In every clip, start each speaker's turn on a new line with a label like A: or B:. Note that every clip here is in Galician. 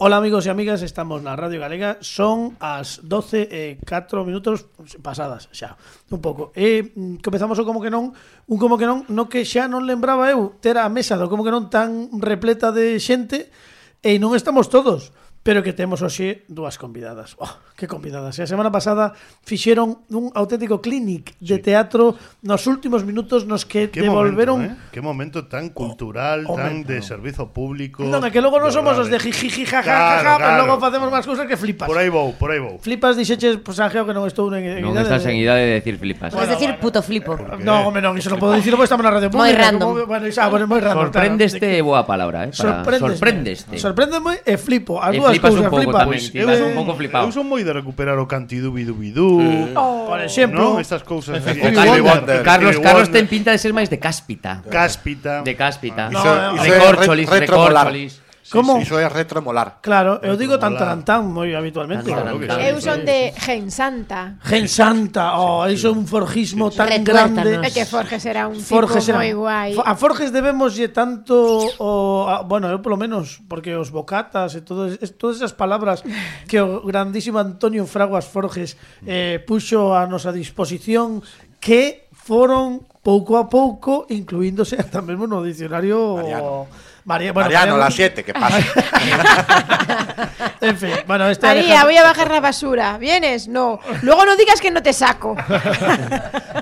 A: Ola amigos e amigas, estamos na Radio Galega Son as 12 e 4 minutos pasadas xa Un pouco E mm, comezamos o como que non Un como que non No que xa non lembraba eu Ter a mesa do como que non tan repleta de xente E non estamos todos Pero que temos hoxe dúas convidadas oh, Que convidadas E a semana pasada fixeron un auténtico clinic de teatro Nos últimos minutos nos que
B: Qué
A: devolveron
B: momento, ¿eh? Qué momento tan cultural,
A: hombre,
B: tan de servicio público.
A: Non, é que logo non somos os de
B: horarios.
A: jiji, jaja,
B: Claro,
A: jaja, pero
B: claro.
A: logo facemos máis cousas que flipas.
B: Por ahí vou, por aí vou.
A: Flipas dixeches, pois pues, Angeo, que non estou en, en
C: Non estás en idade de decir flipas.
A: Bueno,
D: Puedes decir
A: bueno.
D: puto flipo.
A: No, home, non, iso non podo dicirlo porque estamos na radio
D: Moi
A: pública.
D: random.
A: como- Bueno, isa, bueno, moi random.
C: Sorprendeste é boa palabra, eh? para-
A: Sorprendeste.
C: Sorprendeste.
A: Sorpréndeme e flipo. As
C: E
A: dúas
C: flipas un
A: cousas,
C: pouco
A: flipas.
C: tamén, ti,
A: Eu,
C: vas
A: eh,
C: un pouco flipado.
B: Eu son moi de recuperar o canti dubi dubi du.
A: Oh, Por exemplo,
B: ¿no? Estas cousas así.
C: O
B: Stevie
C: Carlos,
B: Wonder,
C: Carlos,
B: Stevie
C: Carlos
B: Wonder,
C: ten pinta de ser máis de cáspita.
B: Cáspita.
C: De
E: Ah,
C: cáspita.
A: No, no, no.
C: Recorcholis,
E: Re- retromolar.
C: recorcholis.
A: como?
E: Iso é retromolar.
A: Claro, eu digo tan tan tan moi habitualmente.
C: Tan, tan, tan.
F: Eu son de Gen Santa.
A: Gen Santa, oh, iso é un forjismo tan
D: Recuérdanos.
A: grande.
D: É
F: É que Forges era un
A: Forges era-
F: tipo moi guai.
A: Fo- A Forges debemoslle tanto o a- bueno, eu polo menos, porque os bocatas e todo es, todas esas palabras que o grandísimo Antonio Fraguas Forges eh puxo a nosa disposición que foron pouco a pouco incluíndose ata mesmo no diccionario
E: Mariano.
A: Maria, bueno,
E: Mariano, las 7, que pasa?
A: En fin, bueno, este
F: María,
A: Alejandro-
F: voy a bajar la basura. ¿Vienes? No. Luego no digas que no te saco.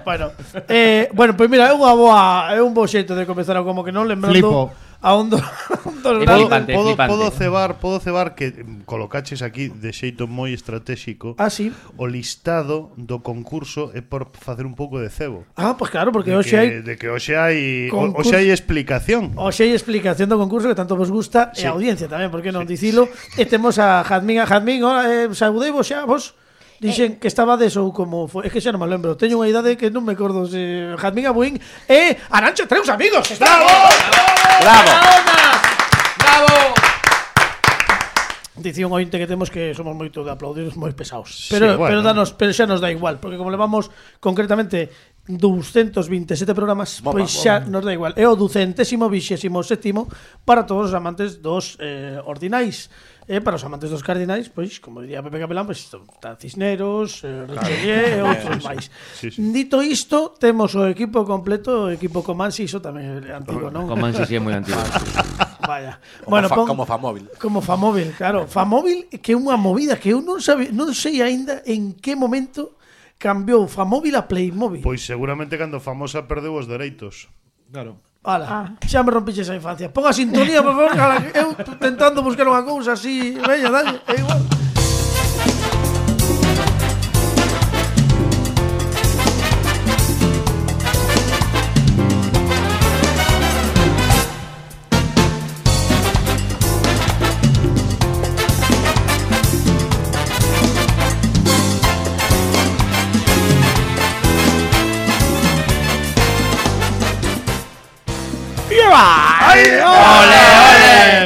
A: bueno, eh, bueno, pois mira, é unha boa, é un bo xeito de comezar como que non lembrando
G: Flipo.
A: a un do, a un dos
C: É
A: grandes-
C: flipante,
B: Podo,
C: flipante.
B: podo cebar, podo cebar que mm, colocaches aquí de xeito moi estratégico
A: Ah, sí.
B: o listado do concurso é por facer un pouco de cebo.
A: Ah, pois claro, porque
B: de
A: hoxe
B: que,
A: hai
B: de que hoxe hai o-
A: concurso-
B: hoxe hai explicación.
A: Hoxe hai explicación do concurso que tanto vos gusta e a audiencia tamén, porque non dicilo. E temos a Jazmín, a Jazmín, hola, eh, saudei vos xa, vos. Dixen que estaba de ou como foi. É que xa non me lembro. Teño unha idade que non me acordo se Jazmín Abuín e Arancho Treus, amigos. Está
E: Bravo.
A: Dicía un ointe que temos que somos moito de aplaudir moi pesados. Pero,
B: bueno.
A: pero, danos, pero xa nos dá igual, porque como levamos concretamente 227 programas,
E: Bomba,
A: pois xa nos dá igual. É o ducentésimo vixésimo sétimo para todos os amantes dos eh, ordinais. E para os amantes dos cardinais, pois, como diría Pepe Capelán, pois, isto, está Cisneros, eh, Richelieu e outros máis.
B: Sí, sí.
A: Dito isto, temos o equipo completo, o equipo Comansi, iso tamén é antigo, non?
C: Como ansi si é moi antigo.
A: Vaya.
E: Como fa- como Famóvil.
A: Como Famóvil, claro. Famóvil que é unha movida que eu non sabe, non sei aínda en que momento cambiou Famóvil a Playmobil.
B: Pois seguramente cando famosa perdeu os dereitos.
G: Claro.
C: Ah.
A: Ala, xa me rompiches a infancia. Pon a sintonía, por favor, cala, que eu tentando buscar unha cousa así, veña, dalle, é igual. Eh,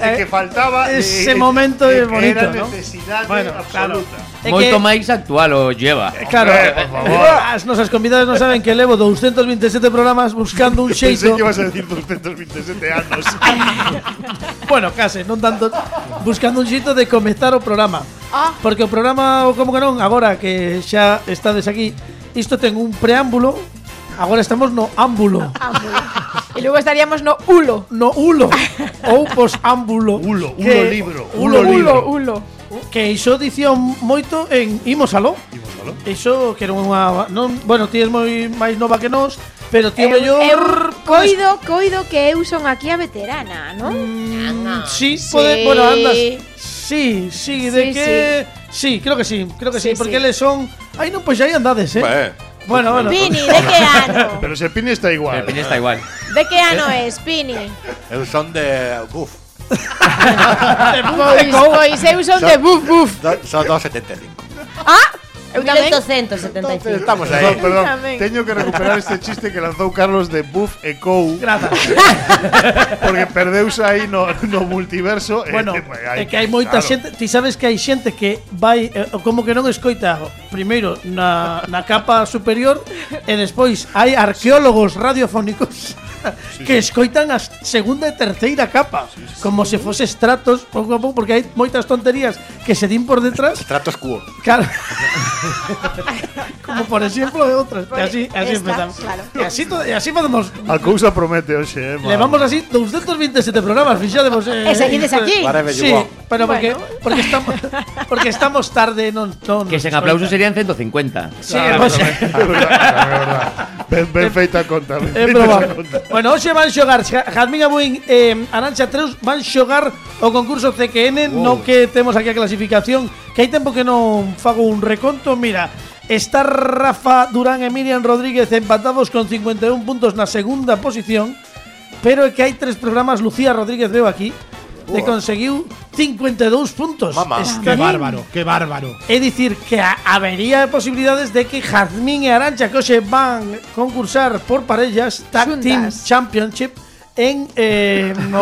B: É que faltaba
A: ese
B: eh,
A: momento
B: eh,
A: é bonito,
B: era
A: ¿no?
B: necesidade
A: claro.
B: absoluta.
A: É
C: Moito
A: que-
C: máis actual o lleva.
A: Claro,
B: Hombre, por favor.
A: as nosas convidadas non saben que levo 227 programas buscando un
B: Pensei
A: xeito
B: que ibas a decir 227 anos.
A: Bueno, case, non tanto Buscando un xeito de comezar o programa
F: Ah.
A: Porque o programa, o como que non Agora que xa estades aquí Isto ten un preámbulo Agora estamos no ámbulo
F: Ámbulo. Ah, Y luego estaríamos no ulo.
A: No ulo Ou posámbulo
B: Ulo,
A: que-
B: ulo libro,
A: Ulo,
B: ulo libro.
A: libro
F: Ulo, ulo.
A: Que iso dicía moito en Imos aló
B: Imos aló.
A: Iso que era unha non, Bueno, ti es moi máis nova que nós Pero ti
F: Eu-
A: mellor
F: eu Eh, coido, coido que eu son aquí a veterana, ¿no?
A: Mm. Sí,
F: Ah, Sí.
A: pode, bueno, andas. Sí, sí, de
F: Sí,
A: que sí. creo que sí, creo que sí,
F: Sí,
A: porque
F: sí.
A: eles son Aí non pois aí andades, eh.
E: Bueno,
A: Bueno, bueno.
F: Pini, ¿de qué ano?
B: Pero se Pini está
C: El
B: igual.
C: piña está igual.
F: ¿De qué ano es, Pini?
E: eu Eh, son de... Uf,
F: Pois, pois eu son de buf buf.
E: do, son do 75.
F: Eu tamén.
D: 1875.
E: Estamos
B: Perdón,
E: aí.
B: perdón.
F: Tamén.
B: Teño que recuperar este chiste que lanzou Carlos de Buff e Cow
A: Grazas.
B: porque perdeuse aí no, no multiverso. e,
A: Bueno,
B: eh, pues, hai
A: é que hai moita
B: claro.
A: xente, ti sabes que hai xente que vai eh, como que non escoita primeiro na, na capa superior e despois hai arqueólogos radiofónicos que escoitan a segunda e terceira capa, como se fose estratos, pouco a pouco, porque hai moitas tonterías que se din por detrás,
E: Stratos quo.
A: claro. como por exemplo de outras, e así, e así
F: Esta,
A: empezamos.
F: claro.
A: E así, to- e así podemos
B: A cousa promete hoxe, eh, man.
A: Levamos así 227 programas, fixademos. Eh,
F: E seguides aquí.
E: Whatever you
A: Sí,
E: want.
A: pero porque,
F: Bueno.
A: porque, estamos, porque estamos tarde, non, non
C: Que sen aplausos serían 150.
A: Sí, pois,
B: É verdad, é verdad. Ben, ben feita a conta. Ben
A: É
B: feita a
A: probable.
B: conta.
A: Bueno, hoxe van xogar Xa- Jazmín Abuín e Arancha Treus van xogar o concurso CQN No que temos aquí a clasificación Que hai tempo que non fago un reconto Mira, está Rafa Durán e Miriam Rodríguez empatados con 51 puntos na segunda posición Pero é que hai tres programas Lucía Rodríguez veo aquí E conseguiu 52 puntos
E: Mamá.
D: Qué
A: Está
D: bárbaro, qué bárbaro.
A: É dicir, que a- habería posibilidades de que Jazmín e Arancha Coxe van concursar por parellas Tag
F: Xuntas.
A: Team Championship en eh, no.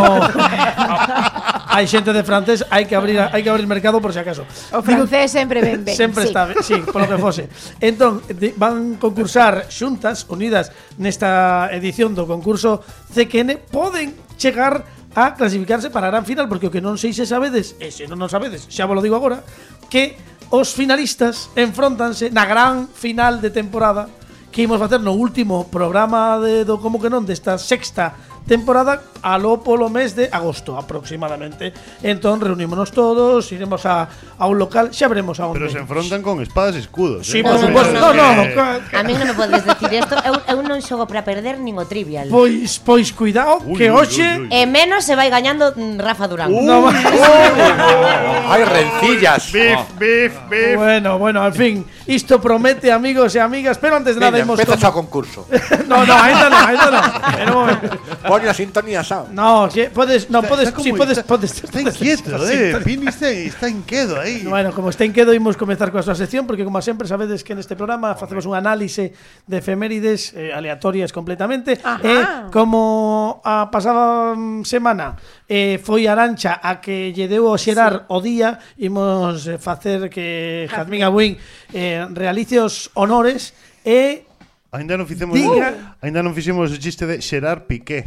A: hai xente de francés, hai que abrir hai que abrir mercado por si acaso.
F: O francés sempre ben ben.
A: Sempre
F: sí.
A: está, ben, sí, polo que fose. Entón, de- van concursar xuntas unidas nesta edición do concurso CQN poden chegar a clasificarse para a gran final porque o que non sei se sabedes, e se non non sabedes, xa vos lo digo agora, que os finalistas enfrontanse na gran final de temporada que imos facer no último programa de do como que non desta sexta temporada alo polo mes de agosto aproximadamente. Entón reunímonos todos, iremos a, a un local, xa veremos a onde.
B: Pero se enfrontan con espadas e escudos.
A: Sí,
B: eh.
A: por
G: No, no,
A: supuesto.
G: no,
A: No, no,
B: Eh,
A: ca-
G: A mí non me podes decir isto, eu, eu non xogo para perder nin o trivial.
A: Pois, pois cuidado
B: Ui,
A: que
B: ui, ui,
A: hoxe
B: ui.
G: E menos se vai gañando mm, Rafa Durán.
A: no va-
E: Hay rencillas.
B: Bif, bif, bif.
A: Bueno, bueno, en fin, isto promete amigos e amigas, pero antes de nada
E: Venga,
A: hemos
E: empieza a concurso.
A: No, no, ainda no, ainda no. Espera un momento.
E: Pon la sintonía sound.
A: No, si puedes, no puedes, si puedes, puedes.
B: Está inquieto, eh. Pini está, está inquieto aí.
A: Bueno, como está en quedo, imos comezar coa súa sección Porque como sempre sabedes que neste programa Facemos un análise de efemérides eh, Aleatorias completamente
F: Ajá.
A: E como a pasada mm, semana eh, Foi Arancha a que lle deu o xerar o día Imos eh, facer que Jazmín Abuín eh, Realice os honores E
B: Ainda non fixemos
A: Diga.
B: Ainda non fixemos o chiste de Gerard Piqué.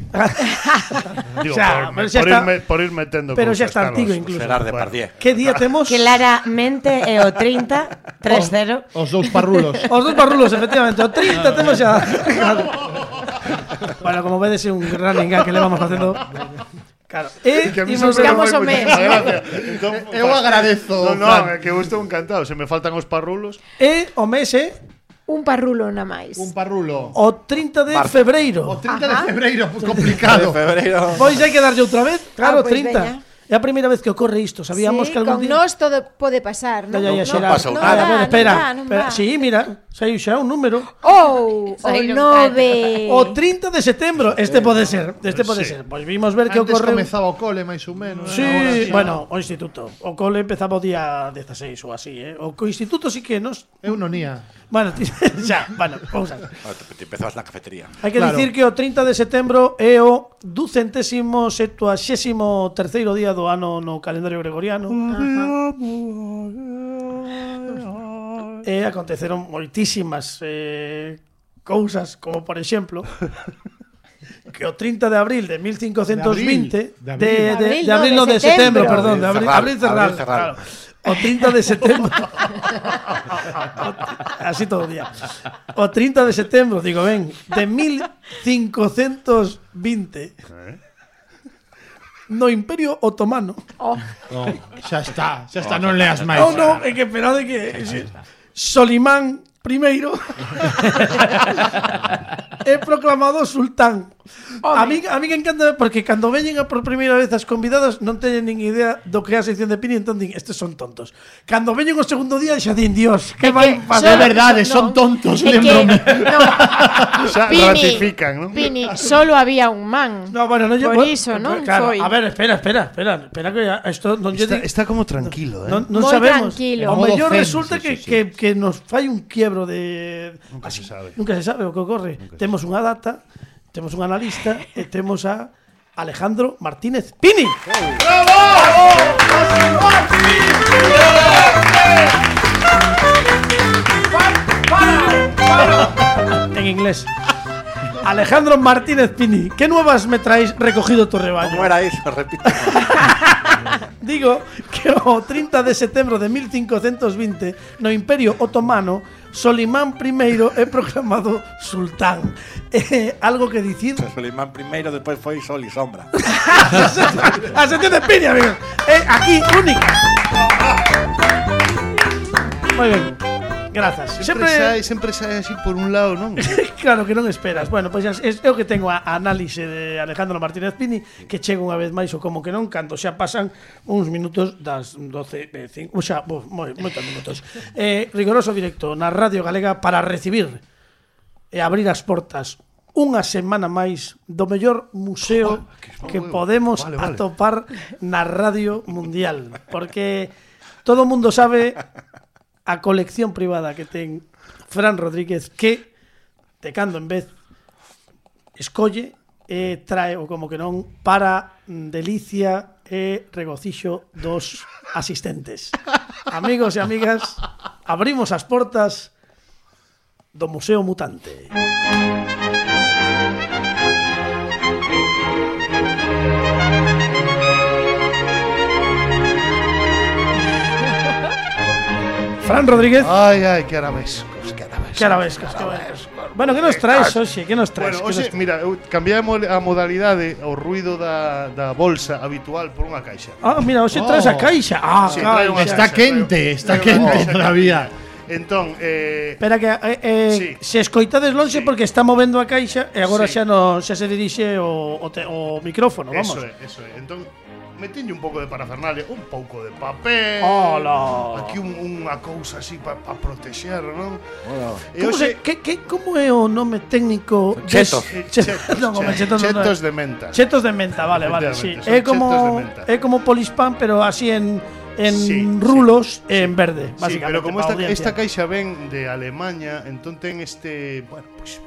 B: Digo, por,
A: Xa, pero
B: me,
A: xa
B: por,
A: está-
B: ir, me, por ir metendo
A: pero
B: cousas,
A: xa está
B: Carlos.
A: antigo incluso.
E: Pues Gerard
B: Bueno,
E: Depardieu.
A: que día temos?
G: Que claramente é o 30, 3-0.
A: Oh,
D: Os dous parrulos.
A: Os dos barrulos, efectivamente. O 30 temos xa. bueno, como vedes é un gran enga que le vamos facendo. Claro. E
B: Que a mí
A: imos
B: sempre
F: buscamos
B: me
F: o
B: fai
F: mes.
B: moita gracia. Entón,
D: Eu agradezo,
B: No, no,
D: Fran.
B: que eu estou encantado. Se me faltan os parrulos.
A: e o mes é
F: Un parrulo na máis.
D: Un parrulo.
A: o 30 de
D: O
E: Marzo.
A: febreiro.
D: 30 de febreiro, pues, complicado.
E: febrero.
A: Pois hai que darlle outra vez. Claro,
F: Ah, pois
A: 30.
F: veña.
A: É a primeira vez que ocorre isto. Sabíamos que algún
F: con
A: día
F: nós todo pode pasar, non?
A: Dai aí a
E: non
A: xerar.
E: pasou
A: Ah,
E: nada.
A: bueno,
F: Non
A: espera.
F: va, non
A: espera.
F: va.
A: Sí, mira, saiu xa un número.
F: Ou o
G: Saíron
F: 9.
A: O 30 de setembro, este pode ser, este pode ser. Pois vimos ver que
D: Antes
A: ocorreu.
D: comezaba o cole, máis ou menos.
A: Sí,
D: eh, ahora
A: bueno, o instituto. O cole empezaba o día 16 ou así, eh. O co instituto sí que nos...
D: Eu non ía.
A: Bueno, ti- xa, bueno, vamos a ver.
E: Ah, te- Te empezabas na cafetería.
A: Hai que
D: Claro.
A: dicir que o 30 de setembro é o ducentésimo setuaxésimo terceiro día do ano no calendario gregoriano. E aconteceron moitísimas eh, cousas, como por exemplo que o 30 de abril de 1520
D: De
A: de de,
D: abril, de
A: de,
F: abril.
A: de abril no de setembro,
F: Abril,
A: perdón, de abril,
E: Ferral,
A: abril cerrado,
E: abril cerrado.
A: claro. O 30 de setembro Así todo o día. O 30 de setembro, digo, ben, de 1520 no Imperio Otomano. Pues
D: No, xa está, xa está, non leas máis.
H: Ah,
A: Non, non, é Oh, que esperade que Solimán I é proclamado sultán. A mí, a mí que encanta porque cando veñen a por primeira vez as convidadas non teñen nin idea do que é a sección de Pini, entón din, estes son tontos. Cando veñen o segundo día xa din, Dios, que
F: É
A: vai
F: que
D: É
A: facer?
F: son-
D: verdade,
F: No.
D: son tontos,
F: É que,
D: lembrome.
F: no,
B: Xa
F: Pini,
B: ratifican, non?
F: Pini, solo había un man.
A: No, bueno, non lle
F: Por
A: bueno,
F: iso, non
A: Claro,
F: foi.
A: a ver, espera, espera, espera, espera que a- isto non lle
B: Está,
A: di-
B: está como tranquilo, eh.
A: Non, non
F: Moi
A: sabemos. O
F: tranquilo.
D: Modo
A: mellor
D: zen,
A: resulta que,
D: sí, sí, sí.
A: que, que nos fai un quiebro de...
B: Nunca se sabe.
A: Nunca se sabe o que ocorre. temos unha data, temos un analista e temos a Alejandro Martínez Pini. En inglés. Alejandro Martínez Pini, ¿qué nuevas me traéis recogido tu rebaño?
E: ¿Cómo era eso? Repito.
A: Digo que o 30 de setembro de 1520 no Imperio Otomano Solimán I é proclamado sultán. Eh, algo que dicir
E: Solimán primero, después foi Sol y Sombra.
A: Ah, A sección de Pini, amigos. Eh, aquí, única. Moi ben. Grazas.
D: Sempre
A: Sempre
D: sai, sempre sai así por un lado, non?
A: claro que non esperas. Bueno, pois pues, é o que tengo a a análise de Alejandro Martínez Pini que chega unha vez máis o como que non cando xa pasan uns minutos das 12 eh, cinco, xa, bo, moi, moitos minutos. Eh, rigoroso directo na Radio Galega para recibir e abrir as portas unha semana máis do mellor museo que podemos
D: Vale, vale.
A: atopar na Radio Mundial, porque todo o mundo sabe a colección privada que ten Fran Rodríguez que de cando en vez escolle e trae o como que non para mm, delicia e regocixo dos asistentes. Amigos e amigas, abrimos as portas do Museo Mutante. Fran Rodríguez,
D: Ai, ai, que arabescos, que arabescos.
A: que ahora ves que esto- Bueno, que nos traes, Oxe? Que nos traes?
D: Bueno,
A: Que
D: hoxe,
A: nos-
D: mira, eh, eu cambiei a mo- a modalidade o ruido da, da bolsa habitual por unha caixa.
A: Ah, mira, hoxe traes a
D: Oh.
A: caixa. Ah,
D: Sí, trae
A: caixa.
D: unha
A: Está...
D: caixa. Está quente, está quente todavía. Entón, eh,
A: Espera que eh, eh,
D: Sí.
A: se escoitades lonxe
D: Sí.
A: porque está movendo a caixa e agora
D: Sí.
A: xa no xa se dirixe o, o, te, o micrófono, vamos.
D: eso é, eso é. Entón, metinlle un pouco de parafernalia, un pouco de papel.
A: Hola.
D: Aquí un, unha cousa así para pa protexer, non? E
A: Como,
D: hoxe-
A: se, que, que, como é o nome técnico? des-
E: Chetos.
D: eh,
A: Che-
D: chetos,
A: non, home, chetos, non, non.
D: chetos de menta.
A: Chetos de menta, vale, vale, sí.
D: Efectivamente, son
A: É como
D: chetos de menta.
A: é como polispán, pero así en en
D: Sí, sí,
A: rulos e en verde,
D: Sí,
A: básicamente.
D: pero como
A: pa
D: esta,
A: audiencia.
D: esta caixa ven de Alemania, entón ten este, bueno, pues,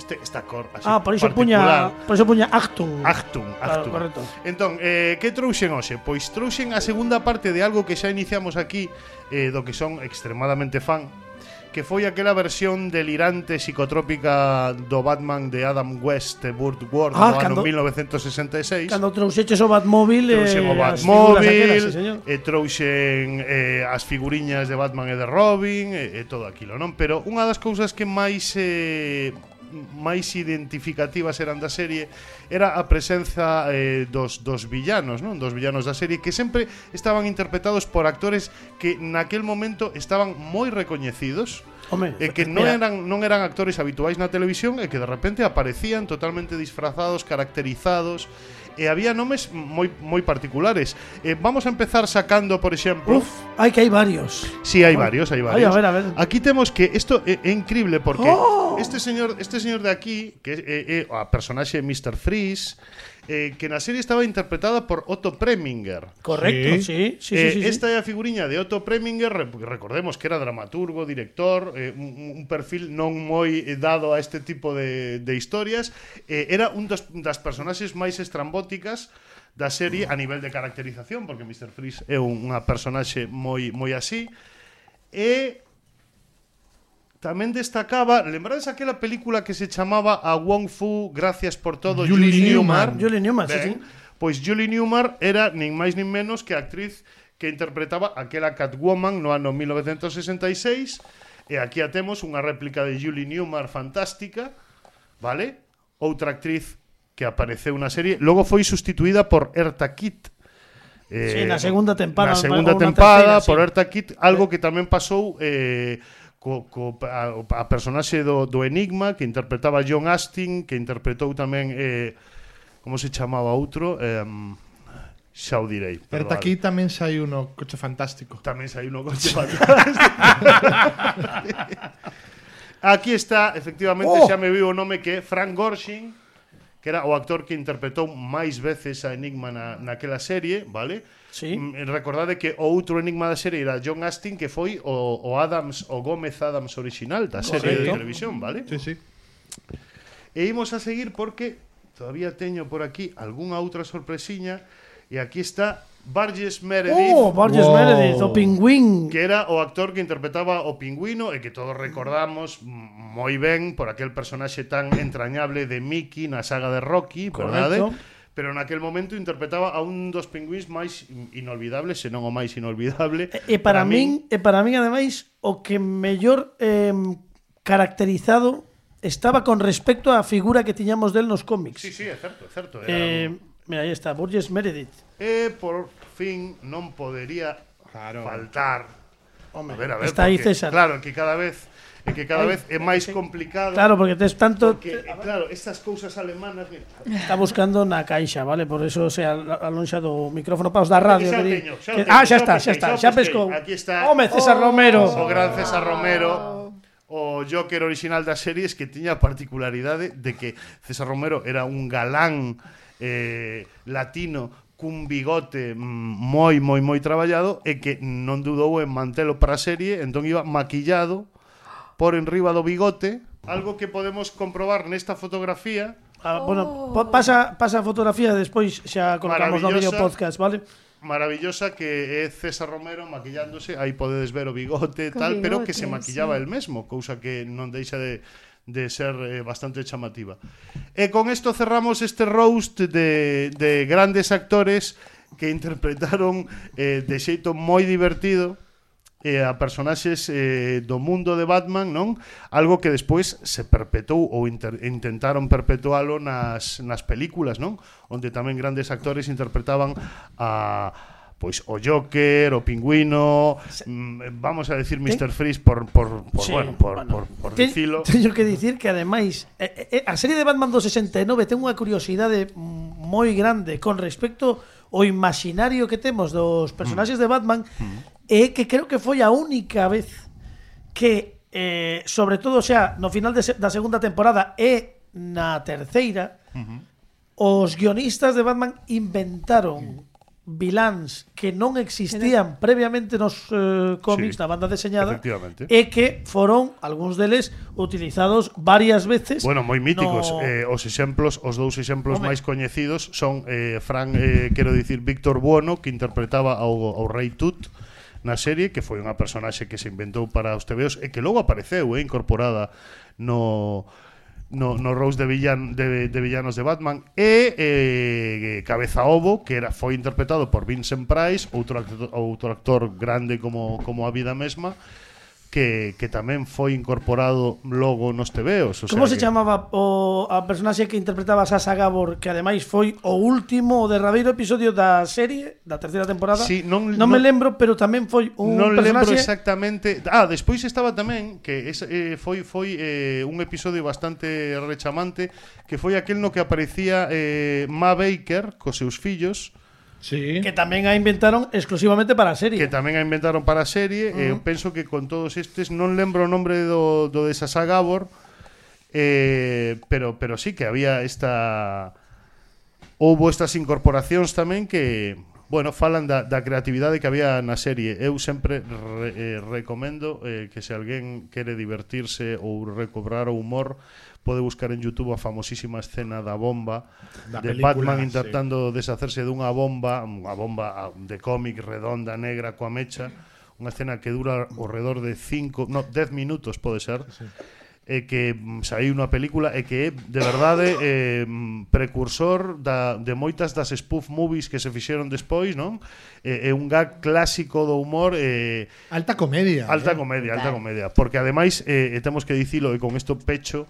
D: este, esta cor así
A: Ah, por iso
D: particular.
A: puña, por iso puña Actum.
D: Actum,
A: Claro,
D: Actum.
A: correcto.
D: Entón, eh, que trouxen hoxe? Pois trouxen a segunda parte de algo que xa iniciamos aquí eh, do que son extremadamente fan que foi aquela versión delirante psicotrópica do Batman de Adam West e Burt Ward
A: Ah,
D: no
A: cando-
D: ano 1966
A: Cando trouxeches o Batmóvil
D: Trouxen o
A: eh, as figuras aquelas, sí, señor.
D: Batmóvil, e trouxen eh, as figuriñas de Batman e de Robin, e, e todo aquilo, non? Pero unha das cousas que máis eh, máis identificativas eran da serie era a presenza eh, dos, dos villanos, non? Dos villanos da serie que sempre estaban interpretados por actores que naquel momento estaban moi recoñecidos
A: Home,
D: e que non
A: espera.
D: eran non eran actores habituais na televisión e que de repente aparecían totalmente disfrazados, caracterizados e había nomes moi moi particulares. Eh, vamos a empezar sacando, por exemplo,
A: Uf, hay que hay varios.
D: Sí, hay varios, hay
A: Ay, a
D: varios.
A: ver, a ver.
D: Aquí tenemos que esto eh, es, increíble porque
A: ¡Oh!
D: este señor, este señor de aquí, que es eh, eh, a personaje Mr. Freeze, eh, que en la serie estaba interpretada por Otto Preminger.
A: Correcto, sí, sí, sí.
D: Eh,
A: sí, sí.
D: esta é a figuriña de Otto Preminger, re- recordemos que era dramaturgo, director, eh, un, un perfil non moi eh, dado a este tipo de, de historias, eh, era un dos, das personaxes máis estrambóticas da serie a nivel de caracterización, porque Mr. Freeze é un- unha personaxe moi moi así, e tamén destacaba, lembrades aquela película que se chamaba A Wong Fu, Gracias por todo, Julie Julie, Newmar? Newmar.
A: Julie Newmar, sí, sí.
D: Ben, Pois Julie Newmar era nin máis nin menos que a actriz que interpretaba aquela Catwoman no ano 1966 e aquí a temos unha réplica de Julie Newmar fantástica, vale? Outra actriz que apareceu na serie, logo foi sustituída por Erta Kitt.
A: Sí,
D: Eh,
A: na segunda tempada,
D: Na
A: ou
D: segunda
A: na terceira,
D: tempada
A: sí.
D: por Erta Kitt, algo que tamén pasou eh, co, co, a, a personaxe do, do Enigma que interpretaba John Astin, que interpretou tamén eh, como se chamaba outro eh, xa o direi pero
H: Pero
D: vale.
H: aquí tamén sai uno coche fantástico.
D: tamén saiu no coche para atrás. aquí está efectivamente
E: Oh.
D: xa me viu o nome que é Frank Gorshin que era o actor que interpretou máis veces a Enigma na, naquela serie, vale?
A: Sí.
D: Mm, Recordade que o outro Enigma da serie era John Astin, que foi o, o Adams, o Gómez Adams original da serie de
A: Correcto.
D: televisión, vale?
H: Sí, sí.
D: E imos a seguir porque todavía teño por aquí algunha outra sorpresiña E aquí está Burgess Meredith.
A: Oh, Borges
H: Wow.
A: Meredith, o Pingüín.
D: que era o actor que interpretaba o pingüino e que todos recordamos m- moi ben por aquel personaxe tan entrañable de Mickey na saga de Rocky, verdade?
A: Correcto.
D: Pero naquel momento interpretaba a un dos pingüins máis in- inolvidables, senón o máis inolvidable.
A: E Eh, para, min, e para min ademais o que mellor eh, caracterizado estaba con respecto á figura que tiñamos del nos cómics.
D: Sí, sí, é certo, é certo. Era...
A: Eh,
D: Eh...
A: mira, aí está, Burgess Meredith.
D: E por fin non podería
H: Claro.
D: faltar.
A: Home,
D: A ver, a ver,
A: está aí
D: porque,
A: César. Claro,
D: Claro, que cada vez é que cada
A: Ay,
D: vez é máis complicado.
A: porque tes tanto
D: porque, eh, claro, estas cousas alemanas, mira,
A: está buscando na caixa, vale? Por eso se al- alonxa do micrófono para os da radio.
D: Xa o
A: que di-
D: teño, xa o
A: que-
D: teño,
A: ah, xa
D: xa o
A: está, xa
D: pesquei,
A: está,
D: xa
A: xa
D: o pesquei.
A: pescou.
D: Aquí está. Oh,
A: Home, César Romero.
D: o gran César Romero o Joker original das series que tiña a particularidade de que César Romero era un galán eh, latino cun bigote mm, moi moi moi traballado e que non dudou en mantelo para a serie, entón iba maquillado por enriba do bigote, algo que podemos comprobar nesta fotografía
A: Ah, bueno, po- pasa pasa a fotografía despois xa colocamos no
D: Maravillosa.
A: vídeo podcast, vale?
D: maravillosa que é César Romero maquillándose, aí podedes ver o bigote e
F: Co
D: tal, pero que
F: bigote,
D: se maquillaba el mesmo, cousa que non deixa de de ser eh, bastante chamativa. E con esto cerramos este roast de, de grandes actores que interpretaron eh, de xeito moi divertido eh, a personaxes eh, do mundo de Batman, non? Algo que despois se perpetuou ou inter, intentaron perpetualo nas, nas películas, non? Onde tamén grandes actores interpretaban a pois o Joker, o Pingüino, mm, vamos a decir Mr. Freeze por por, por
A: Sí,
D: bueno, por,
A: bueno.
D: por, por
A: Te-
D: dicilo.
A: Teño que dicir que ademais eh, eh, a serie de Batman do 69 ten unha curiosidade mm, moi grande con respecto ao imaginario que temos dos
D: Mm.
A: personaxes de Batman e que creo que foi a única vez que eh, sobre todo xa no final de se- da segunda temporada e na terceira os guionistas de Batman inventaron viláns que non existían previamente nos eh, cómics
D: Sí,
A: da banda deseñada
D: efectivamente.
A: e que foron algúns deles utilizados varias veces.
D: Bueno, moi míticos.
A: no-
D: Eh, os exemplos, os dous exemplos
A: Home.
D: máis coñecidos son eh, Fran, eh, quero dicir, Víctor Buono, que interpretaba ao, ao Rei Tut na serie, que foi unha personaxe que se inventou para os TVOs e que logo apareceu, eh, incorporada no no, no Rose de, villan, de, de villanos de Batman e eh, Cabeza Ovo que era foi interpretado por Vincent Price outro actor, outro actor grande como, como a vida mesma que, que tamén foi incorporado logo nos TVOs o
A: Como
D: sea
A: se
D: que-
A: chamaba o a personaxe que interpretaba a Sasa Gabor, que ademais foi o último o derradeiro episodio da serie, da terceira temporada?
D: Sí, non-
A: non me
D: non-
A: lembro, pero tamén foi un
D: non lembro
A: personaxe
D: exactamente. Ah, despois estaba tamén que es, eh, foi foi eh, un episodio bastante rechamante que foi aquel no que aparecía eh, Ma Baker cos seus fillos
H: Sí.
A: que tamén a inventaron exclusivamente para a serie.
D: que tamén a inventaron para a serie. Eu penso que con todos estes non lembro o nombre do do de Sasa Gabor. Eh, pero pero sí que había esta houbo estas incorporacións tamén que bueno, falan da, da creatividade que había na serie. Eu sempre re, eh, recomendo eh, que se alguén quere divertirse ou recobrar o humor, pode buscar en YouTube a famosísima escena da bomba
H: Da
D: de
H: película,
D: Batman
H: sí.
D: intentando deshacerse dunha bomba, unha bomba ah, de cómic redonda, negra, coa mecha, unha escena que dura alrededor de 5, no, 10 minutos pode ser e que mm, saiu unha película e que é de verdade eh, mm, precursor da, de moitas das spoof movies que se fixeron despois, non? É, é un gag clásico do humor eh,
H: Alta comedia.
D: alta
H: eh.
D: comedia, alta
G: Total.
D: comedia, porque ademais eh, e temos que dicilo e con isto pecho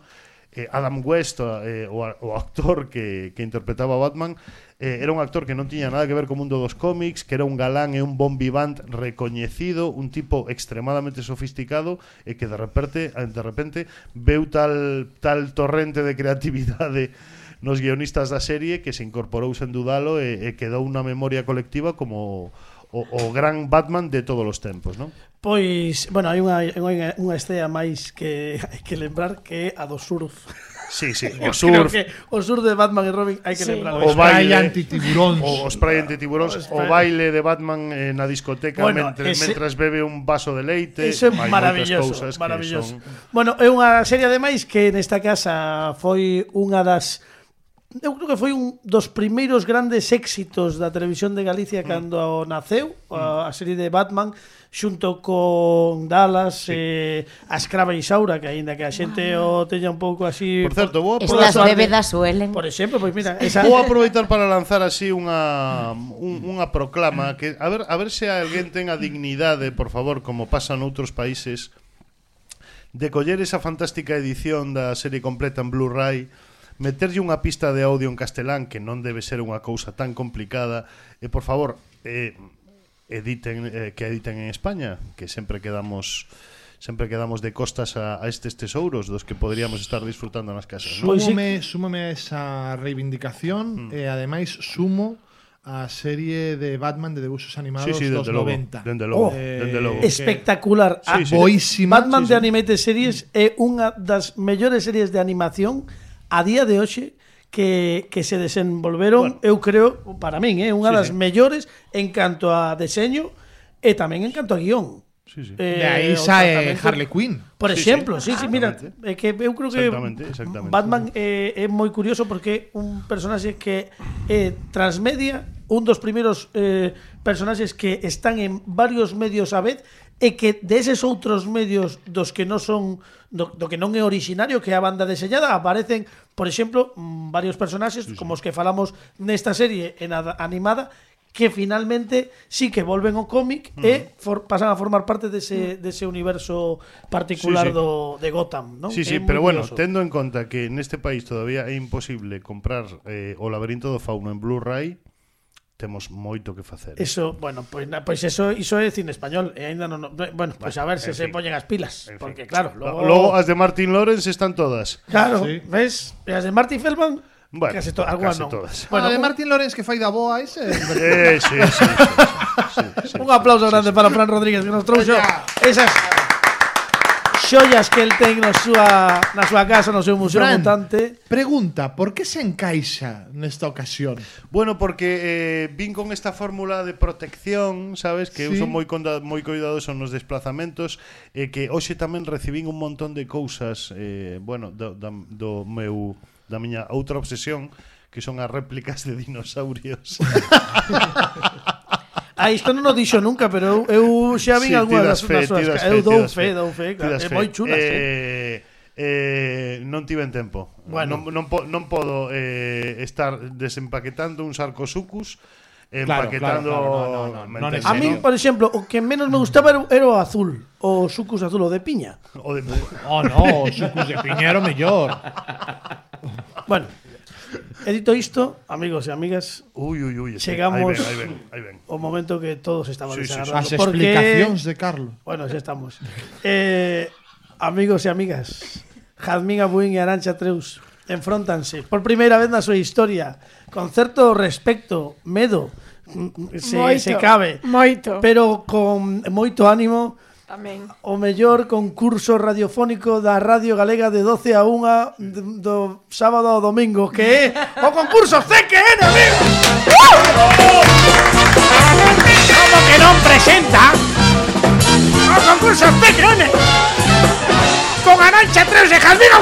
D: eh, Adam West, o, eh, o, a- o actor que, que interpretaba a Batman, eh, era un actor que non tiña nada que ver co mundo dos cómics, que era un galán e un bon vivant recoñecido, un tipo extremadamente sofisticado e que de repente, de repente veu tal, tal torrente de creatividade nos guionistas da serie que se incorporou sen dudalo e, e quedou unha memoria colectiva como o, o gran Batman de todos os tempos, non?
A: Pois, bueno, hai unha, unha, unha estea máis que hai que lembrar que é a do surf.
D: Sí, sí, o
A: Creo
D: surf,
A: que o surf de Batman e Robin hai que
F: Sí.
A: lembrar.
D: o
H: Spray
D: baile,
H: antitiburón.
D: o, o spray anti tiburóns, o
A: spray.
D: baile de Batman eh, na discoteca
A: Bueno,
D: mentre,
A: ese-
D: mentras bebe un vaso de leite.
A: Eso é
D: Hai moitas
A: maravilloso,
D: cousas que
A: maravilloso.
D: son-
A: Bueno, é unha serie ademais que nesta casa foi unha das eu creo que foi un dos primeiros grandes éxitos da televisión de Galicia mm. cando naceu
D: Mm.
A: a, a serie de Batman xunto con Dallas sí. eh, a Escrava e Isaura que aínda que a xente o teña un pouco así
D: Por certo, vou apro-
A: Pola
G: Ah. Estas
A: sorte.
G: bebedas suelen.
A: por exemplo, pois mira, esa
D: Vou aproveitar para lanzar así unha un, unha proclama que a ver a ver se alguén ten a dignidade, por favor, como pasa noutros países, de coller esa fantástica edición da serie completa en Blu-ray, meterlle unha pista de audio en castelán que non debe ser unha cousa tan complicada, e por favor, eh, editen eh, que editen en España, que sempre quedamos sempre quedamos de costas a, a estes tesouros dos que poderíamos estar disfrutando nas casas, non?
A: Pois sí.
H: Súmome, súmome a esa reivindicación
D: Mm.
H: e ademais sumo a serie de Batman de debuxos animados
D: Sí, sí,
H: dos
D: dende logo,
H: 90.
D: dende
A: Oh.
D: logo, dende logo.
H: Eh,
A: espectacular.
D: Sí,
A: Ah,
D: sí.
H: Boísima.
A: Batman
H: Sí,
A: de
H: sí.
A: Animated
D: Mm.
A: Series é unha das mellores series de animación a día de hoxe que, que se desenvolveron, eu creo, para min, é unha das mellores en canto a deseño e tamén en canto a guión.
D: Sí, sí.
A: Eh,
H: De aí
A: o
H: sae
A: tratamento-
H: Harley Quinn.
A: Por
D: Sí, sí.
A: exemplo, sí, sí, mira,
D: Exactamente.
A: é que eu creo que
D: Exactamente, exactamente.
A: Batman eh, é moi curioso porque é un personaxe que é transmedia, un dos primeiros eh, personaxes que están en varios medios a vez e que deses outros medios dos que non son do, do que non é originario que é a banda deseñada aparecen, por exemplo, mm, varios personaxes sí, sí. como os que falamos nesta serie en a, animada que finalmente sí que volven ao cómic uh -huh. e for, pasan a formar parte dese, dese universo particular sí, sí.
D: Sí, sí.
A: do de Gotham, non?
D: Sí,
A: É
D: sí,
A: moi
D: pero bueno,
A: curioso.
D: tendo en conta que neste país todavía é imposible comprar eh, o laberinto do fauno en Blu-ray, temos moito que facer. ¿eh?
A: Eso, bueno, pois na- pois eso iso é cine español e aínda non, non- bueno, pois a ver se
D: en
A: se
D: fin.
A: poñen as pilas,
D: En fin.
A: porque claro,
D: Logo...
A: logo,
D: logo as de Martin Lawrence están todas.
A: claro,
H: Sí.
A: ves? E as de Martin Feldman
D: Bueno,
A: case, to algunhas
D: case
A: non.
D: todas.
A: Bueno,
H: Bueno, Ah, de
A: un-
H: Martin Lawrence que fai da boa ese.
D: Eh, sí, sí, sí, sí, sí, sí.
A: un aplauso grande para Fran Rodríguez que nos trouxo esas xollas que el ten na súa na súa casa, no seu museo
H: Fran.
A: mutante.
H: Pregunta, por que se encaixa nesta ocasión?
D: Bueno, porque eh, vin con esta fórmula de protección, sabes, que eu
H: Sí.
D: son moi conda, moi cuidadoso nos desplazamentos e eh, que hoxe tamén recibín un montón de cousas, eh, bueno, do, da, do meu da miña outra obsesión, que son as réplicas de dinosaurios.
A: Ah, isto non o dixo nunca, pero eu, eu xa vin
D: Sí,
A: algunhas das
D: ti das fe,
A: das súas.
D: ti das
A: ca- Eu
D: fe, ti
A: dou
D: das
A: fe,
D: fe,
A: dou fe,
D: ti
A: claro,
D: das
A: é
D: fe.
A: moi chulas, eh.
D: Eh, eh, non tiven tempo.
A: Bueno.
D: Bueno. Non, non, po- non podo eh, estar desempaquetando un sarcosucus,
H: Claro,
D: empaquetando...
H: claro, claro, no, no, no,
D: ¿me
H: non
D: entendes,
A: A
H: es
A: mí, por exemplo, o que menos me gustaba era, era o azul, o sucus azul, o de piña.
D: O de...
H: Oh, no, sucus de piñero mellor.
A: Bueno, he dito isto, amigos e amigas,
D: Ui, ui, ui.
B: este,
D: espera,
A: Llegamos-
D: Ahí ven, ahí ven, ahí ven.
A: o momento que todos estaban
D: Sí, sí, sí.
A: desagradando.
H: As explicacións de Carlos.
A: Bueno, xa estamos. Eh, amigos e amigas, Jazmín Abuín e Arancha Treus enfrontanse por primeira vez na súa historia con certo respecto, medo, mm, mm, se,
F: Moito,
A: se cabe,
F: moito.
A: pero con moito ánimo,
F: Tamén.
A: O mellor concurso radiofónico da Radio Galega de 12 a 1 d- do sábado ao domingo, que é o concurso CQN, amigo. Como que non presenta o concurso CQN con Arancha 3 e Jardín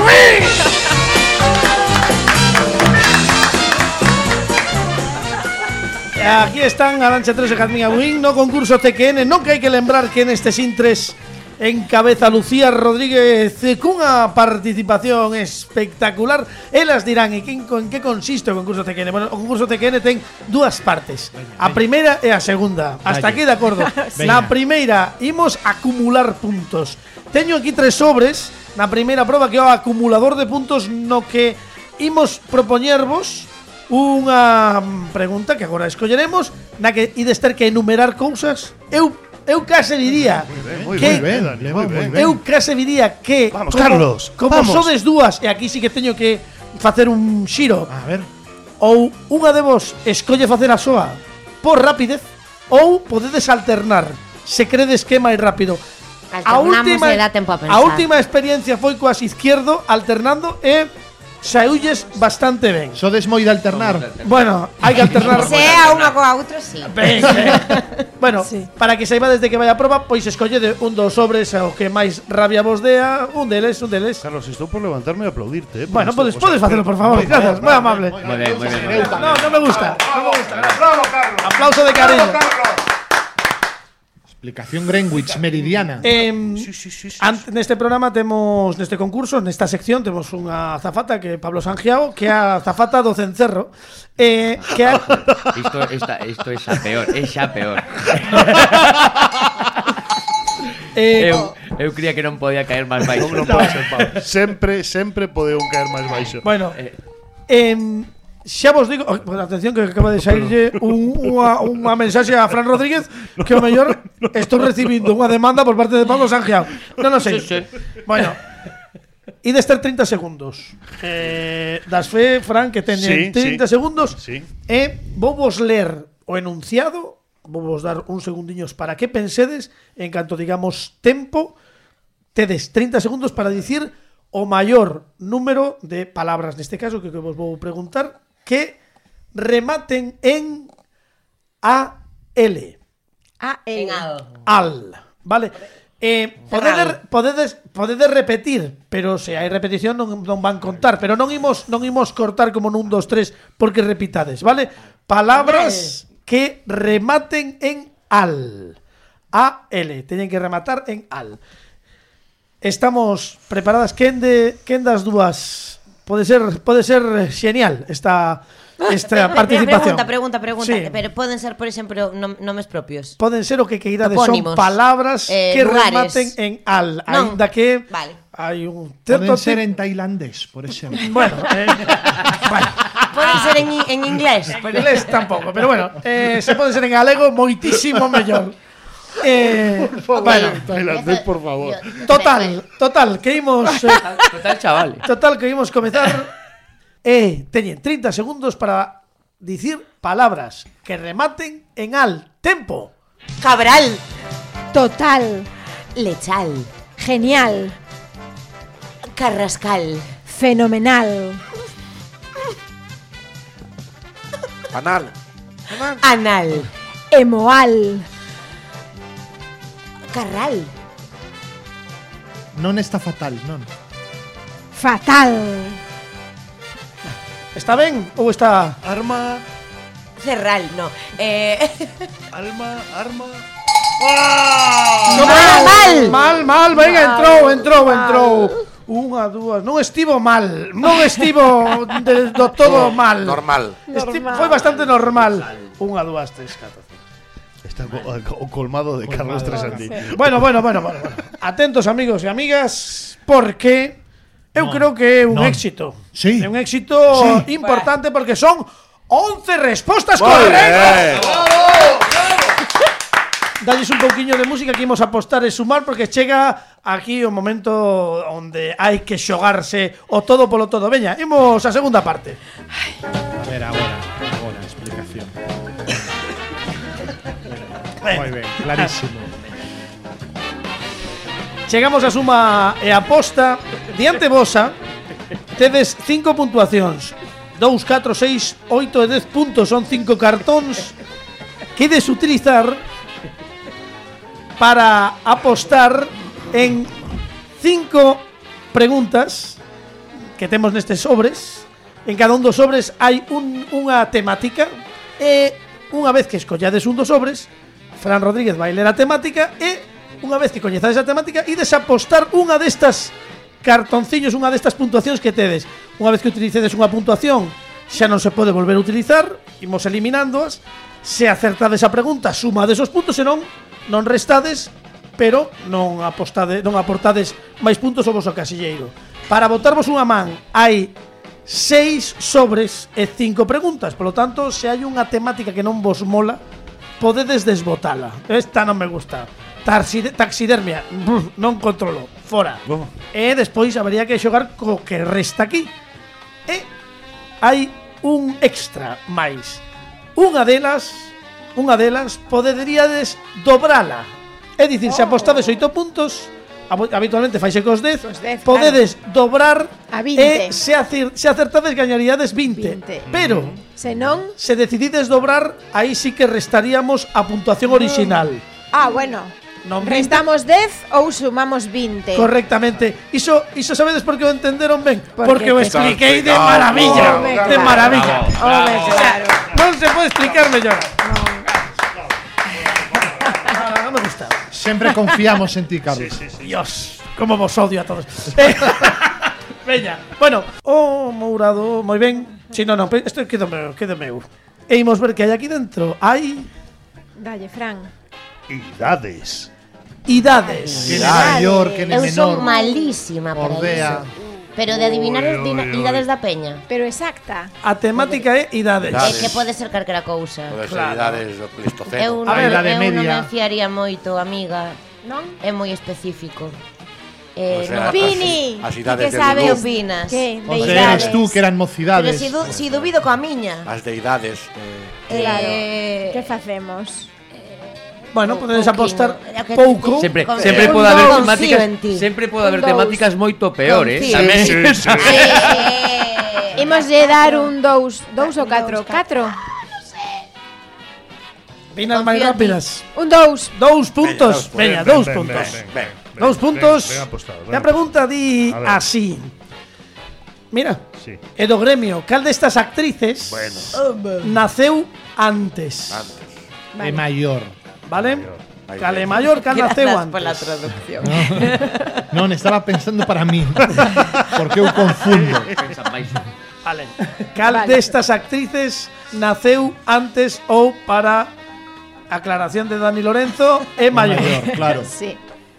A: Aquí están Arancha 3 e Jazmín Abuín no concurso TQN. Non que hai que lembrar que neste Sintres encabeza Lucía Rodríguez eh, cunha participación espectacular. Elas dirán e quen- en que consiste o concurso TQN. Bueno, o concurso TQN ten dúas partes. A primeira e a segunda. Hasta aquí de acordo. Na
H: Veña.
A: primeira imos acumular puntos. Teño aquí tres sobres na primeira proba que é o acumulador de puntos no que imos propoñervos unha mm, pregunta que agora escolleremos na que ides ter que enumerar cousas eu eu case diría
D: Moi
A: que
D: ben,
H: ben,
D: Dani,
H: le
D: moi
H: va
D: ben.
H: moi ben.
A: eu case diría que
D: Vamos,
A: como,
D: Carlos,
A: como
D: vamos.
A: sodes dúas e aquí sí que teño que facer un xiro
H: A ver,
A: ou unha de vos escolle facer a súa por rapidez ou podedes alternar se credes que é máis rápido.
G: Alternamos e dá tempo a pensar.
A: última experiencia foi coas izquierdo alternando e saúlles bastante ben.
H: Sodes moi de alternar.
A: Bueno, hai que alternar.
G: Sea unha coa outra, sí.
A: Ben, eh. bueno,
F: Sí.
A: para que saiba desde que vai a proba, pois escollede un dos sobres ao que máis rabia vos dea, un deles, un deles.
B: Carlos, estou por levantarme e aplaudirte. eh, por
A: Bueno,
B: isto, o
A: podes,
B: sea,
A: podes facelo, por favor, grazas, moi amable.
C: Muy bien, muy bien. muy bien.
A: No, no me gusta, no me gusta.
D: ¡Bravo, Carlos!
A: Aplauso de cariño.
H: Explicación Greenwich meridiana.
A: Em,
D: Sí, sí, sí, sí.
A: Ante- neste programa temos neste concurso, nesta sección temos unha azafata que é Pablo Sangiao, que é a azafata do Cencerro, eh, que é
C: Esto, esta- esto es a peor, es a peor.
A: eh,
C: Eu, eu creía que no podía caer más baixo.
B: Non pode ser, Pablo. Sempre, sempre podeu caer máis baixo.
A: bueno,
C: Eh,
A: em, xa vos digo, oh, pues, atención que acaba de saírlle un, unha, unha mensaxe a Fran Rodríguez que o mellor estou recibindo unha demanda por parte de Pablo Sangiao. Non, non sei.
C: Sí, sí.
A: Bueno, e de estar 30 segundos. Eh, das fe, Fran, que teñen
B: Sí,
A: 30
B: sí.
A: segundos.
B: Sí.
A: E vou vos ler o enunciado, vou vos dar un segundiños para que pensedes, en canto digamos tempo, tedes 30 segundos para dicir o maior número de palabras, neste caso, que, que vos vou preguntar, que rematen en AL.
F: Ah, el.
A: Al. Vale. Eh, podedes, podedes, podedes repetir, pero se hai repetición non, non van contar, pero non imos non imos cortar como nun 2 3 porque repitades, vale? Palabras que rematen en al. A L, teñen que rematar en al. Estamos preparadas quen de quen das dúas pode ser pode ser eh, xenial esta esta participación.
G: Pregunta, pregunta, pregunta.
A: Sí.
G: Pero poden ser, por exemplo, nom- nomes propios.
A: Poden ser o que queirades, son
G: Topónimos.
A: palabras
G: Eh,
A: que
G: lugares.
A: rematen en al,
G: Non.
A: ainda que
G: Vale.
A: hai un certo
H: Poden ser
A: ti-
H: en tailandés, por exemplo.
A: Bueno, eh, bueno,
G: Poden ser en, i- en inglés.
A: en inglés tampouco, pero bueno, eh, se poden ser en galego moitísimo mellor. Eh, bueno,
B: Tailandés, por favor.
A: total, total, que imos eh,
C: total, chaval.
A: Total, que íbamos comenzar. Eh, teñen 30 segundos para dicir palabras que rematen en al. Tempo.
G: Cabral.
F: Total.
G: Lechal.
F: Genial.
G: Carrascal.
F: Fenomenal.
E: Anal.
G: Anal.
F: Emoal.
G: Carral.
H: Non está fatal, non.
F: Fatal.
A: Está ben ou está...
B: Arma,
G: Cerral, no. Eh,
B: alma, arma.
G: mal.
A: Mal, mal, venga, entrou, entrou, entrou. Unha, dúas, non estivo mal, non estivo de, do todo mal.
E: Normal.
A: Esti, foi bastante normal. Unha, dúas, tres, catro. cinco.
B: Está co- o colmado de Carlos Tresandí.
A: Bueno, bueno, bueno, bueno, bueno. Atentos amigos e amigas, porque eu creo que é un
H: non.
A: éxito.
H: Sí.
A: É un éxito importante porque son 11 respostas correctas. Dalles un pouquiño de música que imos apostar e sumar porque chega aquí o momento onde hai que xogarse o todo polo todo. Veña, imos a segunda parte.
H: A ver, agora, agora, explicación. Moi ben, clarísimo.
A: Chegamos a suma e aposta Diante vosa Tedes 5 puntuacións 2, 4, 6, 8 e 10 puntos Son 5 cartóns Que des utilizar Para apostar En 5 preguntas Que temos nestes sobres En cada un dos sobres hai un, unha temática E unha vez que escollades un dos sobres Fran Rodríguez vai ler a temática E unha vez que coñezades a temática Ides a apostar unha destas cartonciños Unha destas puntuacións que tedes Unha vez que utilicedes unha puntuación Xa non se pode volver a utilizar Imos eliminándoas Se acertades a pregunta, sumades os puntos Se non, non restades pero non apostade, non aportades máis puntos ao voso casilleiro. Para votarvos unha man hai seis sobres e cinco preguntas, polo tanto, se hai unha temática que non vos mola, podedes desbotala. Esta non me gusta. Tarside, taxidermia, brr, non controlo, fora.
B: Vamos.
A: E despois habría que xogar co que resta aquí. E hai un extra máis. Unha delas, unha delas poderíades dobrala. É dicir, se apostades oito puntos, abo- habitualmente faixe cos 10,
F: Cos 10,
A: podedes dobrar
F: A 20.
A: e se, acir, se acertades gañaríades 20.
F: 20.
A: Pero
F: Senón.
A: se decidides dobrar, aí sí que restaríamos a puntuación original.
F: Ah, bueno.
A: Non
F: Restamos 10 ou sumamos 20.
A: Correctamente. Iso, iso sabedes por que o entenderon ben? Porque,
F: Porque
A: o
F: te-
A: expliquei de maravilla,
F: Home,
A: de
F: claro.
A: maravilla.
F: Home, claro.
A: Non se pode explicar mellor. Ah, me gusta.
H: Siempre confiamos en ti, Carlos.
A: Dios, como vos odio a todos. Eh, Veña, bueno, o Mourado, moi ben. Si, non, non, pe- isto quedo meu, quedo meu. E imos ver que hai aquí dentro. Hai
F: Dalle, Fran.
B: Idades.
A: idades.
H: Que
G: Idades.
H: mayor, que
G: Eu
H: menor.
G: son malísima para
H: Ordea.
G: iso. Pero de adivinar as dina- idades da peña.
F: Pero exacta.
A: A temática é idades.
G: É
E: Idades.
G: que pode ser calquera cousa.
E: Todas as
A: Claro.
E: idades do Plistoceno.
G: Eu,
H: A
G: non-
H: idade
G: eu non
H: media.
G: me fiaría moito, amiga.
F: Non?
G: É moi específico. Eh,
E: O sea,
G: non
E: as-
F: Pini,
E: As
G: ti
E: idades
G: que
E: de
G: sabe
E: Lulú,
G: opinas?
F: Que?
H: O
F: De
H: sea,
F: idades.
H: eres tú que eran
G: Pero
H: mocidades.
G: si, du si dubido coa miña.
A: Ah,
E: As deidades. eh,
F: Claro.
G: Eh,
F: Que facemos?
A: Bueno, podedes
G: pouquiño.
A: apostar
G: É que-
A: pouco.
C: Sempre,
G: Con-
C: sempre
G: un
C: pode haber
G: dous.
C: temáticas,
G: Confío en ti.
C: sempre pode haber
F: Un dous.
C: temáticas moito peor, eh.
G: Confío.
C: Tamén.
G: Eh,
F: Imos de dar un 2, 2 ou 4, 4.
A: Vinas máis
G: Confío en ti.
A: rápidas.
F: Un 2.
A: Dous puntos.
B: Ven,
A: Veña,
B: ven,
A: dous
B: ven,
A: puntos.
B: ven, ven,
E: Ben,
B: ven,
A: Dous
B: ven,
A: puntos.
B: ven apostado, ven
A: La pregunta di
B: A ver.
A: así. Mira,
B: Sí.
A: é do gremio, cal destas actrices
B: Bueno.
A: naceu antes,
E: antes.
H: De mayor.
A: vale?
E: Ahí
A: Cal é
E: ven.
A: maior, cal naceu
G: Gracias
A: antes.
G: por la traducción.
H: No, me estaba pensando para mí. Porque eu confundo.
C: Pensa máis.
A: Vale. Cal
F: Vale.
A: destas actrices naceu antes ou para aclaración de Dani Lorenzo é maior.
H: Mayor, claro.
F: Sí.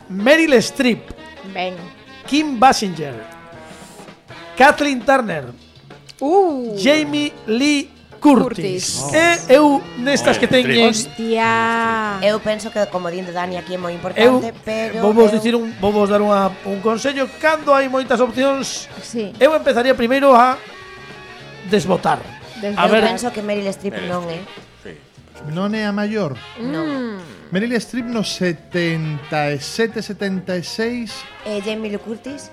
A: Meryl Streep,
F: Ben.
A: Kim Basinger, Kathleen Turner,
F: Uh.
A: Jamie Lee Curtis. E eu nestas que teñen
F: Hostia.
G: Eu penso que o comodín de Dani aquí é moi
A: Eu
G: importante, pero
A: vou vos
G: eu-
A: dicir un vou vos dar unha, un consello cando hai moitas opcións.
F: Sí.
A: Eu empezaría primeiro a desbotar.
F: Desde
A: A
G: eu
A: ver. Eh.
G: penso que Meryl Streep non é.
H: Non é a mayor. Mm.
G: Non.
H: Meryl Streep no 77, 76
G: Eh, Jamie Lee Curtis.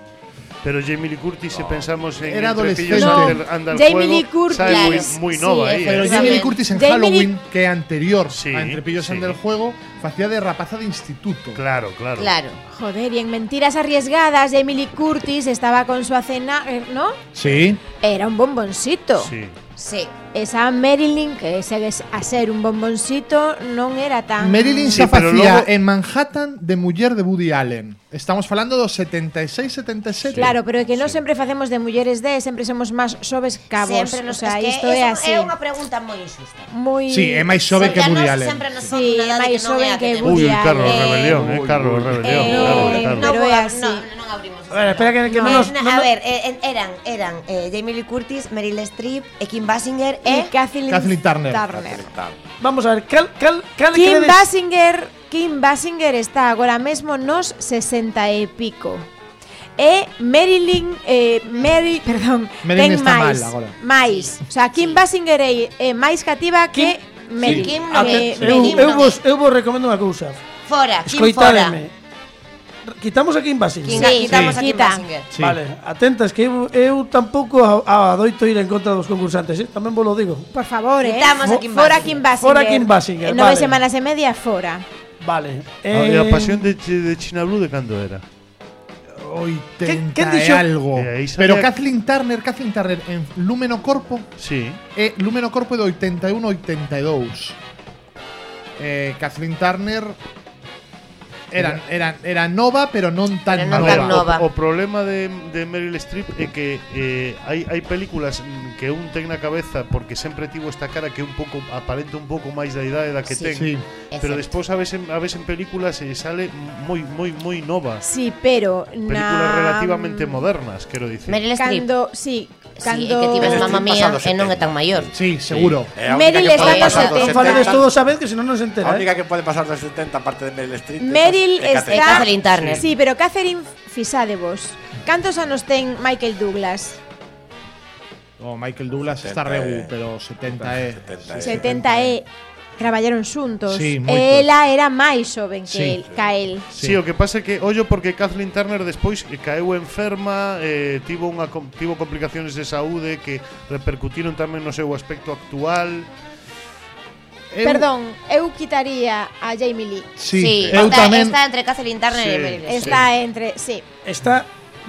B: Pero Jamie Lee Curtis, si pensamos en. este
H: Era
B: entre
H: adolescente.
B: pillos
H: No,
B: Under- Under
F: Jamie
B: Juego,
F: Lee Curtis.
B: sabe muy,
G: Claro.
B: muy
G: Sí,
B: nova ahí.
H: Pero
G: efectivamente.
B: eh.
H: Jamie Lee
G: Bien.
H: Curtis en
F: Jamie Lee-
H: Halloween, que é anterior
B: Sí,
H: a Entre Pillos
B: sí.
H: del Juego, facía de rapazada de instituto.
B: Claro, claro.
G: Claro.
F: Joder, y en Mentiras Arriesgadas, Emily Curtis estaba con su acena, eh, ¿no?
H: Sí.
F: Era un bomboncito.
B: Sí.
G: Sí.
F: Esa Marilyn, que segue a ser un bomboncito, non era tan...
H: Marilyn
B: Sí,
H: se
B: pero
H: facía
B: luego-
H: en Manhattan de muller de Woody Allen. Estamos falando dos 76, 77.
F: Claro, pero é que non sempre facemos de mulleres de, sempre somos máis xoves cabos.
G: Sempre
F: o
G: nos
F: sea,
G: es que
F: isto é
G: eso
F: así.
G: É unha pregunta moi injusta.
F: Moi
H: Sí, é máis xove que
G: Porque a
H: Woody
G: nós
H: Allen.
G: Sempre nos
F: Sí,
G: sí, unha edade que non
F: máis
G: é
F: joven
G: a
F: que
G: que
F: Woody
B: Uy,
G: tenemos.
B: el Carlos
F: Eh,
B: Rebelión, eh, Carlos Rebelión.
G: Eh,
B: claro,
G: no,
B: claro.
F: pero é
G: vou a-
F: así.
G: no, non abrimos.
A: A ver, espera que, que
G: Eh,
A: non nos
G: na-
A: non
G: a
A: nos-
G: ver, eh, eh, eran, eran eh, Jamie Lee Curtis, Meryl Streep, e Kim Basinger e...
F: E Kathleen,
H: Kathleen Turner.
A: vamos a ver, cal cal cal
F: Kim
A: credes?
F: Basinger, Kim Basinger está agora mesmo nos 60 e pico. E Marilyn, eh, Mary, perdón, ten
H: Marilyn está
F: máis,
H: mal agora.
F: máis. O sea, Kim Basinger é, é máis cativa
A: Kim-
F: que Marilyn.
G: Kim
A: A
G: non
A: ver,
G: é.
A: eu,
G: Kim
A: eu
G: non
A: vos
G: é.
A: eu vos recomendo unha cousa.
G: Fora, Kim fora.
A: Escoitademe. Quitamos aquí en
G: Kim,
A: Basinger.
F: Sí,
G: quitamos a Kim
F: quita.
G: Basinger.
H: Sí.
A: Vale, atentas que eu, eu tampouco a- adoito ir en contra dos concursantes, eh? tamén vos lo digo.
F: Por favor, eh.
G: Quitamos a Kim
F: fora
G: Basinger.
F: Kim Basinger.
A: Fora Kim Basinger,
F: Eh, Nove
A: vale.
F: semanas e media fora.
A: Vale.
B: Ah, e
A: eh,
B: a pasión de, Chi- de China Blue de cando era?
A: ¿Qué-
H: 80
A: qué
H: ¿Qué,
A: dixo?
H: algo.
B: Eh, aí sabía-
H: pero Kathleen Turner, Kathleen Turner en Lúmeno Corpo
B: Sí.
H: é Lúmeno Eh, Corpo de 81 82. Eh, Kathleen Turner era, era, era nova, pero non tan
G: Pero
B: A
G: non
B: ver,
G: tan nova.
H: nova.
B: Ah, o, o problema de, de Meryl Streep é que eh, hai, hai películas mm, que un ten na cabeza porque sempre tivo esta cara que un pouco aparenta un pouco máis da idade da que
G: Sí.
B: ten.
H: Sí.
B: Pero despois a veces a veces en películas eh, sale moi moi moi nova.
F: Sí, pero
B: Películas
F: na mm,
B: relativamente modernas, quero dicir.
G: Meryl Streep.
F: Cando, sí,
G: Sí,
F: cando
G: é que ti ves
E: Meryl
G: mamá
E: Streep
G: mía
E: pasa dos
G: e non é tan
E: 70.
G: maior.
H: Sí, seguro.
E: É a única
F: Meryl
E: que pode
G: está
E: pasar
G: no
E: dos
A: Non faledes
E: 70.
A: todos a vez que senón non se entera.
E: A única
A: Eh?
E: que pode pasar dos 70 aparte de Meryl Streep.
F: Meryl
E: é Catherine.
F: está-
G: E Kathleen Turner.
F: Sí, pero Catherine, fisade vos. Cantos anos ten Michael Douglas?
H: O Michael Douglas está
G: e.
E: 70,
H: regu,
E: eh.
H: pero 70 é.
E: 70, eh.
F: 70 e traballaron xuntos.
H: Sí, moito.
F: Ela era máis joven que
H: Sí.
F: el, ca el.
B: Sí. o que pasa é que ollo porque Kathleen Turner despois eh, caeu enferma, eh, tivo unha com- tivo complicacións de saúde que repercutiron tamén no seu aspecto actual.
H: Eu-
F: Perdón, eu quitaría a Jamie Lee.
H: Sí, eu
G: está,
H: tamén
G: está entre Catherine Turner
B: Sí.
G: e Meryl Streep.
F: Está entre, sí.
A: Está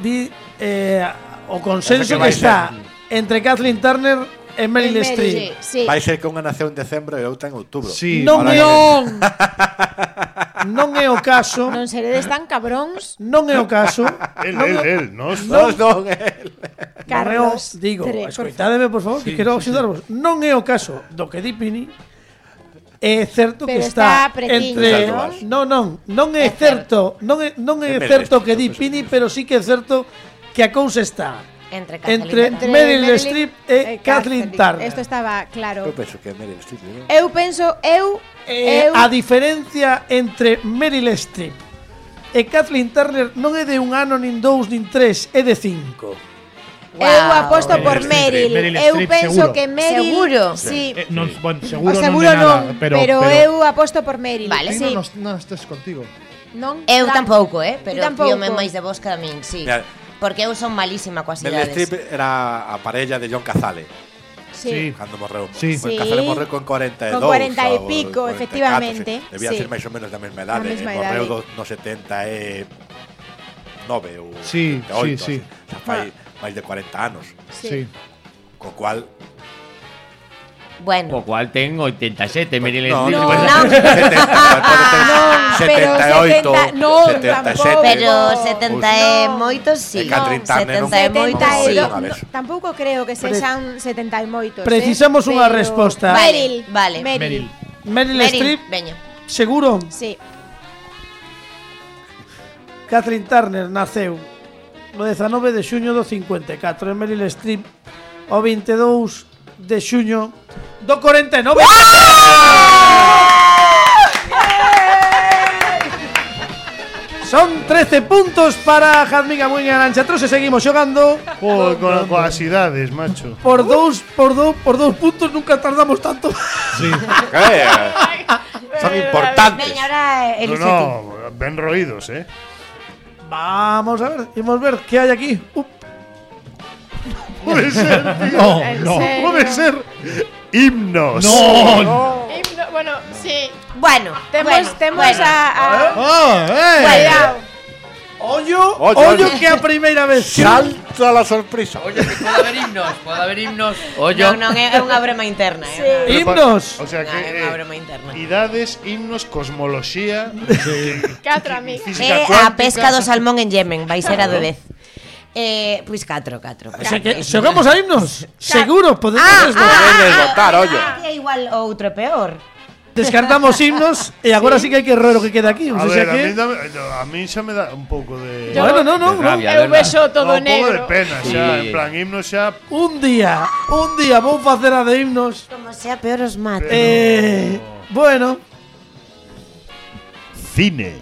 A: di, eh, o
E: Esa
A: consenso
E: que
A: que
E: vai
A: está entre Kathleen Turner e Meryl
F: Meryl,
A: Streep.
F: Sí.
E: Vai ser que unha naceu en decembro e outra en outubro.
H: Sí,
A: non
E: ahora
A: é
E: que-
A: o non é o caso,
F: Non seredes tan cabróns,
A: non é o caso.
B: El,
A: non
B: el,
A: é-
B: el, nos.
E: Nós non, el.
F: Carlos.
A: Carlos, digo,
F: Tre, por
A: escoitádeme, por favor, que quero axudarvos. Non é o caso do que di Pini. É certo que
F: Pero
A: está,
F: está pretiño,
A: entre
E: non?
A: Non, non, non é,
G: É certo.
A: certo, non é non é
E: É Meryl
A: certo
E: Streep,
A: que di
E: pois,
A: Pini, pero sí que é certo que a cousa está
G: Entre Catherine
A: entre
G: Turner.
A: Meryl Streep e Kathleen Turner.
F: eh, Esto estaba claro.
E: Eu penso que é Meryl Streep, non?
F: Eu penso, eu,
A: Eh,
F: eu
A: a diferencia entre Meryl Streep e Kathleen Turner non é de un ano nin dous nin tres, é de cinco.
F: Eu aposto
H: Meryl
F: por
H: Streep,
F: Meryl.
H: Meryl
F: Eu
H: Streep,
F: penso
H: seguro.
F: que Meryl.
G: Seguro.
F: Sí.
H: eh, non,
F: O
H: bueno, seguro,
F: seguro
H: non de
F: non,
H: nada, pero,
F: pero,
H: pero-
F: eu aposto por Meryl.
G: Vale,
H: Ti
F: sí.
H: non, os- non estes contigo.
F: Non,
G: Eu
F: claro.
G: tampouco, eh, pero
F: Ti tampouco.
G: fíome máis de vos que a min, sí.
E: Mira.
G: Porque eu son malísima coas
E: Meryl
G: idades.
E: Streep era a parella de John Cazale
F: Sí.
E: cando morreu.
H: Sí.
E: Pois
F: Sí.
E: Cazale morreu con 42.
F: Con 40 e
E: ou
F: pico,
E: 44,
F: efectivamente.
E: se- Debía
F: Sí.
E: ser máis ou menos da mesma idade.
F: Da mesma
E: e morreu
F: idade.
E: do- no 70 e 9 ou
H: Sí,
E: 78,
H: sí,
E: así.
H: sí.
E: O sea, fai
F: Ah.
E: máis de 40 anos.
H: Sí.
E: Co cual
C: O
G: Bueno,
C: cual tengo 87, Meryl
E: No,
C: Streep.
E: no,
C: Bueno,
G: no.
E: 70,
F: Ah,
E: pode
F: pero
E: ter 78,
F: 70, non,
E: 77.
F: tampouco.
G: pero
F: Pois
G: 70 e
F: non.
G: moitos sí.
E: E Catherine Turner non-
G: 70 e moitos
E: Vamos a
G: sí.
E: ver unha
F: 72.
E: vez.
F: No, tampouco creo que sexan 70 e moitos.
A: Precisamos
F: eh?
A: unha
F: Pero-
A: resposta.
G: Vale,
F: Meryl,
G: vale.
H: Meryl.
F: Meryl.
A: Meryl,
G: Meryl,
A: Streep,
G: veña.
A: seguro,
F: Sí.
A: Kathleen Turner naceu no 19 de xuño do 54 e Meryl Streep o 22 de xuño do 49. Son 13 puntos para Jazmín Amuín e Arancha Trose. Seguimos xogando
B: Co, co, coas idades, macho.
A: por dous, por dous, por dous puntos nunca tardamos tanto.
E: Eh, Son importantes.
G: Veña,
B: No,
G: ahora Eliseti.
B: no, ben roídos, eh.
A: Vamos a ver, imos ver que hai aquí. Up.
B: Pode ser, tío.
H: No,
I: En
H: no.
I: serio.
B: Pode ser himnos.
H: No.
I: Himno- bueno, sí.
G: Bueno,
F: Temos,
G: bueno,
F: temos
G: bueno.
F: a, a
H: Ah, eh.
F: Cuidado.
A: Ollo,
E: Ollo,
A: ollo
E: ollo.
A: que a primeira vez. que-
E: Salta la sorpresa.
C: Oye, que puede haber himnos, puede haber himnos. Oye,
G: Non, non, é é unha broma interna, é.
A: Himnos.
B: O sea
G: Unha,
B: que
G: é unha
B: eh,
G: broma interna.
B: idades, himnos, cosmoloxía,
I: Catro amigas.
B: física
G: É
B: cuántica.
G: Eh, a pesca do salmón en Yemen, vai ser a do 10. Eh, pois 4, 4.
A: O sea que xogamos a himnos. Seguro, podemos
E: ah, Debes votar, ollo.
G: É igual ou outro peor.
A: descartamos himnos e agora sí. que hai que roer o que queda aquí, o
B: A
A: sea
B: ver, a
A: que
B: mí, dame, a mí xa me dá un pouco de...
I: Yo-
A: Bueno, no, no,
C: De
A: no.
I: Eu
C: rabia.
I: vexo
B: No,
I: todo
B: un pouco de
I: negro.
B: pena xa, en
C: Sí.
B: plan himnos xa
A: Un día, un día vou facer a de himnos.
G: Como sea peor os mato.
A: Eh, bueno,
B: cine.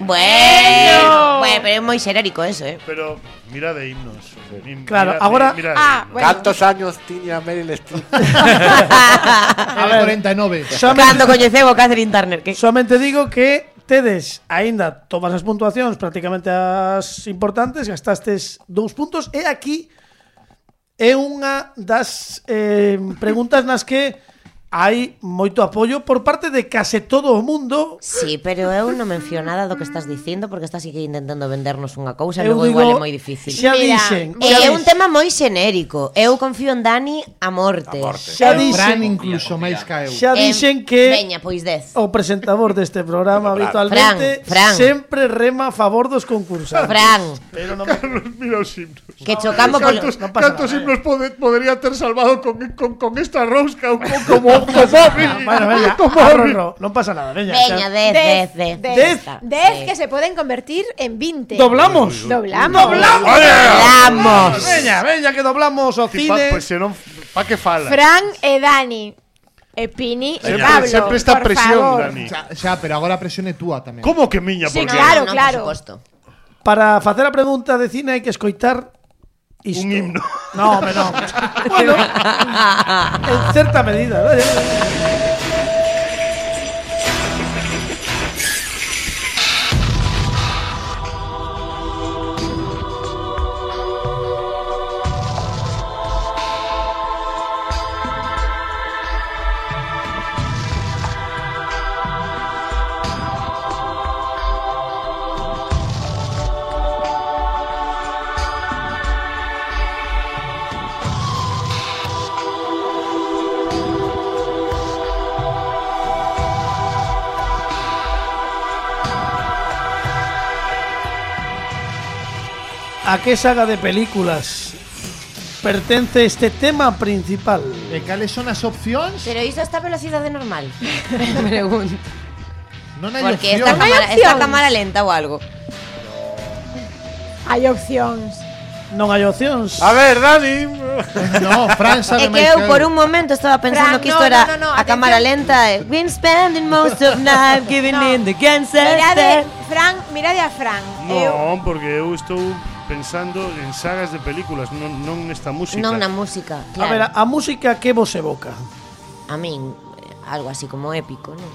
G: Bueno, bueno, pero é moi xerórico eso, eh.
B: Pero mira de himnos. Mira-
A: Claro,
B: mira-
A: ahora-
B: mira de
F: Ah,
B: himnos.
F: bueno.
E: ¿Cuántos años tiña Meryl Streep?
H: A ver, 49.
G: Cando
A: somente,
G: coñeceu a Catherine Turner, que
A: somente digo que tedes aínda todas as puntuacións prácticamente as importantes, gastastes dous puntos e aquí é unha das eh, preguntas nas que hai moito apoio por parte de case todo o mundo
G: Sí, pero eu non me enfío nada do que estás dicindo porque estás aquí intentando vendernos unha cousa,
A: Eu
G: logo
A: digo,
G: igual é moi difícil.
A: Xa
I: Mira,
A: dixen, xa
G: É un
A: dixen.
G: tema moi xenérico. Eu confío en Dani a morte.
E: A morte.
A: Xa
H: Fran
A: dixen,
H: incluso E máis caeu.
A: xa dixen que
G: Veña, pois 10.
A: o presentador deste programa
E: Fran,
A: habitualmente
G: Fran.
A: sempre rema a favor dos concursantes.
G: Fran,
A: Pero non me...
B: Mira os himnos.
G: que chocamos polo...
B: ¿Cuántos,
A: no pasa
B: cuántos
A: nada, eh.
B: himnos pode- podría ter salvado con, con, con esta rosca un poco como, como móvil?
A: Bueno, Ah, veña,
B: Como móvil.
A: ahorro, non pasa nada, veña.
G: Veña,
A: xa.
G: 10, 10, 10.
A: Dez.
F: Dez que se poden convertir en 20.
A: Doblamos.
F: Doblamos. Doblamos.
G: Vamos.
A: Veña, veña que doblamos o
B: Ti pa-
A: cine.
B: Pues eh. senón, pa que fala?
F: Fran e Dani. E Pini e
B: Sempre-
F: Pablo.
B: sempre está
F: por
B: presión,
F: favor.
B: Dani.
H: Xa, xa, pero agora presione túa tamén.
B: Como que miña?
F: Sí,
B: Por qué?
F: claro,
G: No, no,
F: claro.
G: Por supuesto.
A: Para facer a pregunta de cine hai que escoitar isto.
B: Un himno.
A: No, hombre, no. bueno, en certa medida. vaya. ¿A qué saga de películas pertence este tema principal?
H: E cales son as opcións?
G: Pero iso está a velocidade normal.
J: Me pregunto.
H: Non hai
G: Porque
H: opción.
G: esta cámara,
F: opción.
G: esta cámara lenta ou algo.
F: Hai opcións.
A: Non hai opcións.
E: A ver, Dani.
H: No, Fran sabe
G: É que
H: máis
G: eu por un momento estaba pensando
I: Fran,
G: que isto
I: no,
G: era
I: no, no, no,
G: a cámara lenta. eh, Been spending most of night giving
F: No.
G: in the cancer.
F: Mirade, Fran, mirade a Fran. eh, Eu,
D: No, porque eu estou pensando en sagas de películas, non, non nesta música.
G: Non na música,
A: A ver, a, a
G: claro.
A: música que vos evoca.
G: A min eh, algo así como épico, non?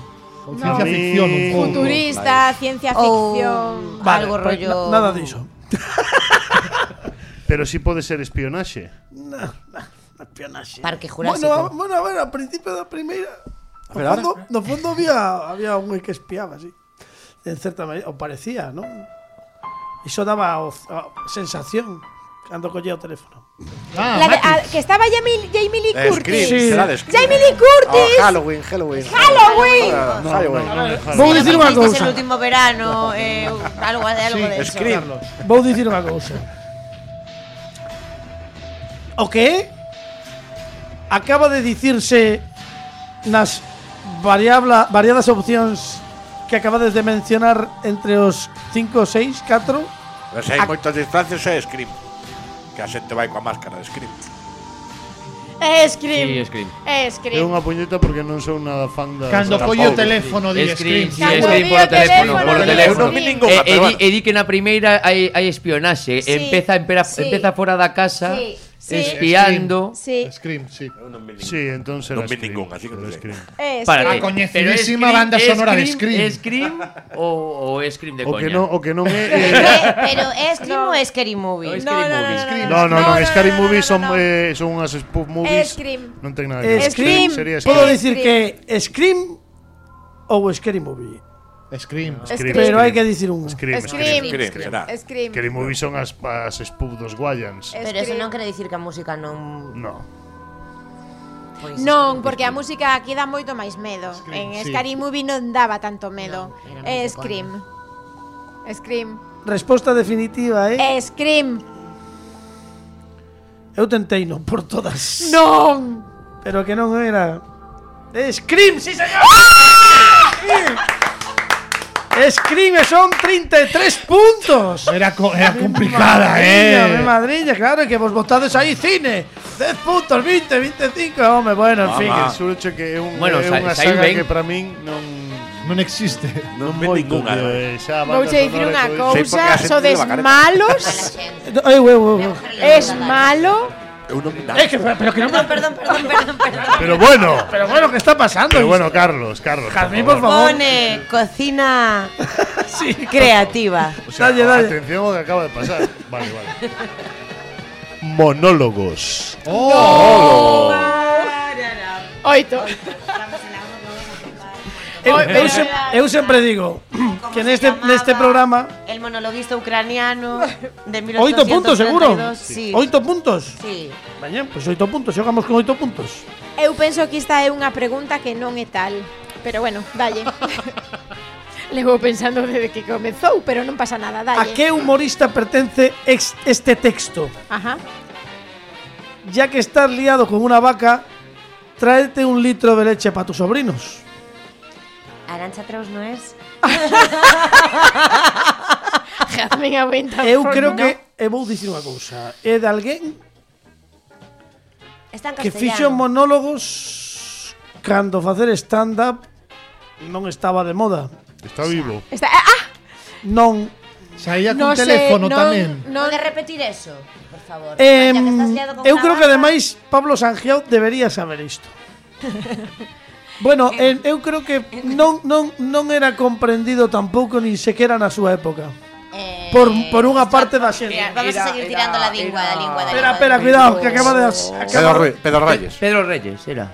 H: Ciencia
D: No.
H: ficción un pouco.
F: Futurista, ciencia
G: Ou
F: ficción.
G: algo
A: pues,
G: rollo...
A: na- nada diso.
D: Pero si sí pode ser espionaxe.
A: Espionaje.
G: Parque Jurásico.
A: Bueno, a- bueno, a ver, al principio da primeira no fondo, no fondo había había un güey que espiaba, así. En certa maneira, o parecía, ¿no? Iso daba o- a sensación cando collía o teléfono.
H: Ah,
F: La de-
H: Matrix.
F: a- que estaba Jamie, Jamie Lee Curtis.
E: Scream, será de Scream.
F: Jamie Lee Curtis.
E: Oh, Halloween, Halloween.
F: Halloween.
E: Ah, Halloween.
A: Vou dicir unha
G: Este es
A: cousa.
G: el último verano, eh, algo, algo de eso.
E: Scream.
A: Vou dicir unha cousa. O que é acaba de dicirse nas variabla, variadas opcións que acabades de mencionar entre os 5, 6, 4
E: Pero se hai moitas distancias é Scream. Que a xente vai coa máscara de Scream.
I: É
C: Sí,
I: Scream.
C: Scream.
I: É
D: É
I: Scream.
D: unha puñeta porque non sou nada fan da
H: Cando
E: Tampouco.
H: collo o teléfono di
C: Scream,
H: Scream.
C: sí,
I: Cando
C: Scream
I: vi
C: polo
I: o
C: teléfono,
I: teléfono,
C: polo
I: vi o
C: teléfono.
E: Eu non vi
I: Scream.
E: ningunha,
C: Eh, e,
E: pero
C: di,
E: bueno.
C: e di que na primeira hai, hai espionaxe
F: Sí,
C: Empeza, empera,
F: sí.
C: empeza fora da casa
F: Sí, sí.
C: Espiando
F: Sí.
H: Scream, sí.
E: Eu non vi ningún.
D: Sí, entón será
E: Non vi
D: Scream,
E: ningún, así que non
D: será
E: sei.
D: Scream.
F: É
C: Párate.
H: A
C: Pero
H: coñecidísima
C: Scream-
H: banda sonora de Scream.
C: Scream ou, ou Scream de
D: O que
C: coña
D: non, o que non é... eh,
G: Pero, é- pero é Scream no. ou é Scary
C: No,
G: Movie?
C: Scream Movies.
D: No, no, no, Scary Movies son,
F: no.
D: eh, son unhas spoof movies.
F: Scream.
D: Non ten nada que ver.
A: Scream,
D: Sería
A: puedo
D: Scream.
A: decir que Scream o Scary Movie,
H: Scream.
I: Scream.
A: pero hai que dicir un
D: Scream,
I: Scream.
D: Scream.
E: Scream, será.
I: Scream.
D: Scary Movies son as, as spoof dos Guayans.
G: Pero eso
I: Scream.
G: non quere dicir que a música non...
D: No.
G: Pois,
F: Non, porque a música aquí dá moito máis medo. en
H: sí.
F: Scary Movie non daba tanto medo.
G: Non, era máis
F: É
G: de
F: Scream.
I: Scream.
A: Resposta definitiva, eh?
F: É Scream.
A: Eu tentei non por todas.
F: Non.
A: Pero que non era É Scream, sí señor. ¡Ah! Scream son 33 puntos.
H: Era, co- era complicada,
A: Mi
H: eh.
A: madriña, claro, e que vos votades aí cine. 10 puntos, 20, 25, home, bueno, en fin.
E: Mamá.
D: Surcho que é, un,
C: Bueno,
D: é
C: sa-
D: unha saga
C: saiu ben.
D: que para min non...
H: Non existe.
E: Non vi ningunha.
D: eh, xa a banda
F: Vouche dicir
D: sonora
F: unha
D: e todo iso.
E: Sí, porque a
F: cousa,
E: xente
F: sodes
E: leva careta.
F: malos,
A: Eu, eu, eu.
F: es malo.
E: Eu non vi nada.
A: É que pero que non me...
G: Perdón, perdón, perdón, perdón.
D: Pero bueno,
A: Pero bueno, que está pasando?
D: pero bueno, Carlos, Carlos.
A: Carmen,
D: por
A: por favor.
D: favor.
G: Pone cocina
A: Sí.
G: creativa.
D: O sea,
A: Dalle, dalle.
D: Atención ao que acaba de pasar. Vale, vale. Monólogos.
I: Oito.
A: Eu, eu,
I: Pero-
A: sem- eu sempre digo que neste neste este programa
G: El monologuista ucraniano de
A: 8
G: 1832.
A: puntos seguro.
G: Sí.
A: 8 puntos.
G: Sí.
A: Mañá, pois 8 puntos, xogamos con 8 puntos.
F: Eu penso que esta é unha pregunta que non é tal. Pero bueno, dalle. Levo pensando desde que comezou, pero non pasa nada,
A: A
F: dalle.
A: que humorista pertence ex- este texto?
F: Ajá.
A: Ya que estás liado con una vaca, tráete un litro de leche para tus sobrinos.
G: Arancha Traus no es.
I: Hazme a venta.
G: Ah,
A: Eu creo que e vou dicir unha cousa, é de alguén
G: Está en
A: que
G: castellano.
A: fixo monólogos cando facer stand up non estaba de moda.
D: Está vivo.
F: Está, ah,
A: Non
H: Saía
F: non
H: con
F: sei,
H: teléfono
F: non,
H: tamén.
F: Non,
G: Pode repetir eso, por favor.
A: Eh,
G: Ya que estás liado con
A: eu
G: una
A: creo que
G: vaca,
A: ademais Pablo Sangiao debería saber isto. bueno, eh, eu creo que non, non, non era comprendido tampouco nin sequera na súa época.
G: eh,
A: Por, por unha parte da xente.
G: mira, vamos a seguir tirando la lingua, la lingua, la
A: Espera,
G: lingua.
A: espera, cuidado, que acaba de...
E: Pedro,
A: Acaba,
E: Ruiz, Pedro Reyes.
C: Pedro Reyes, era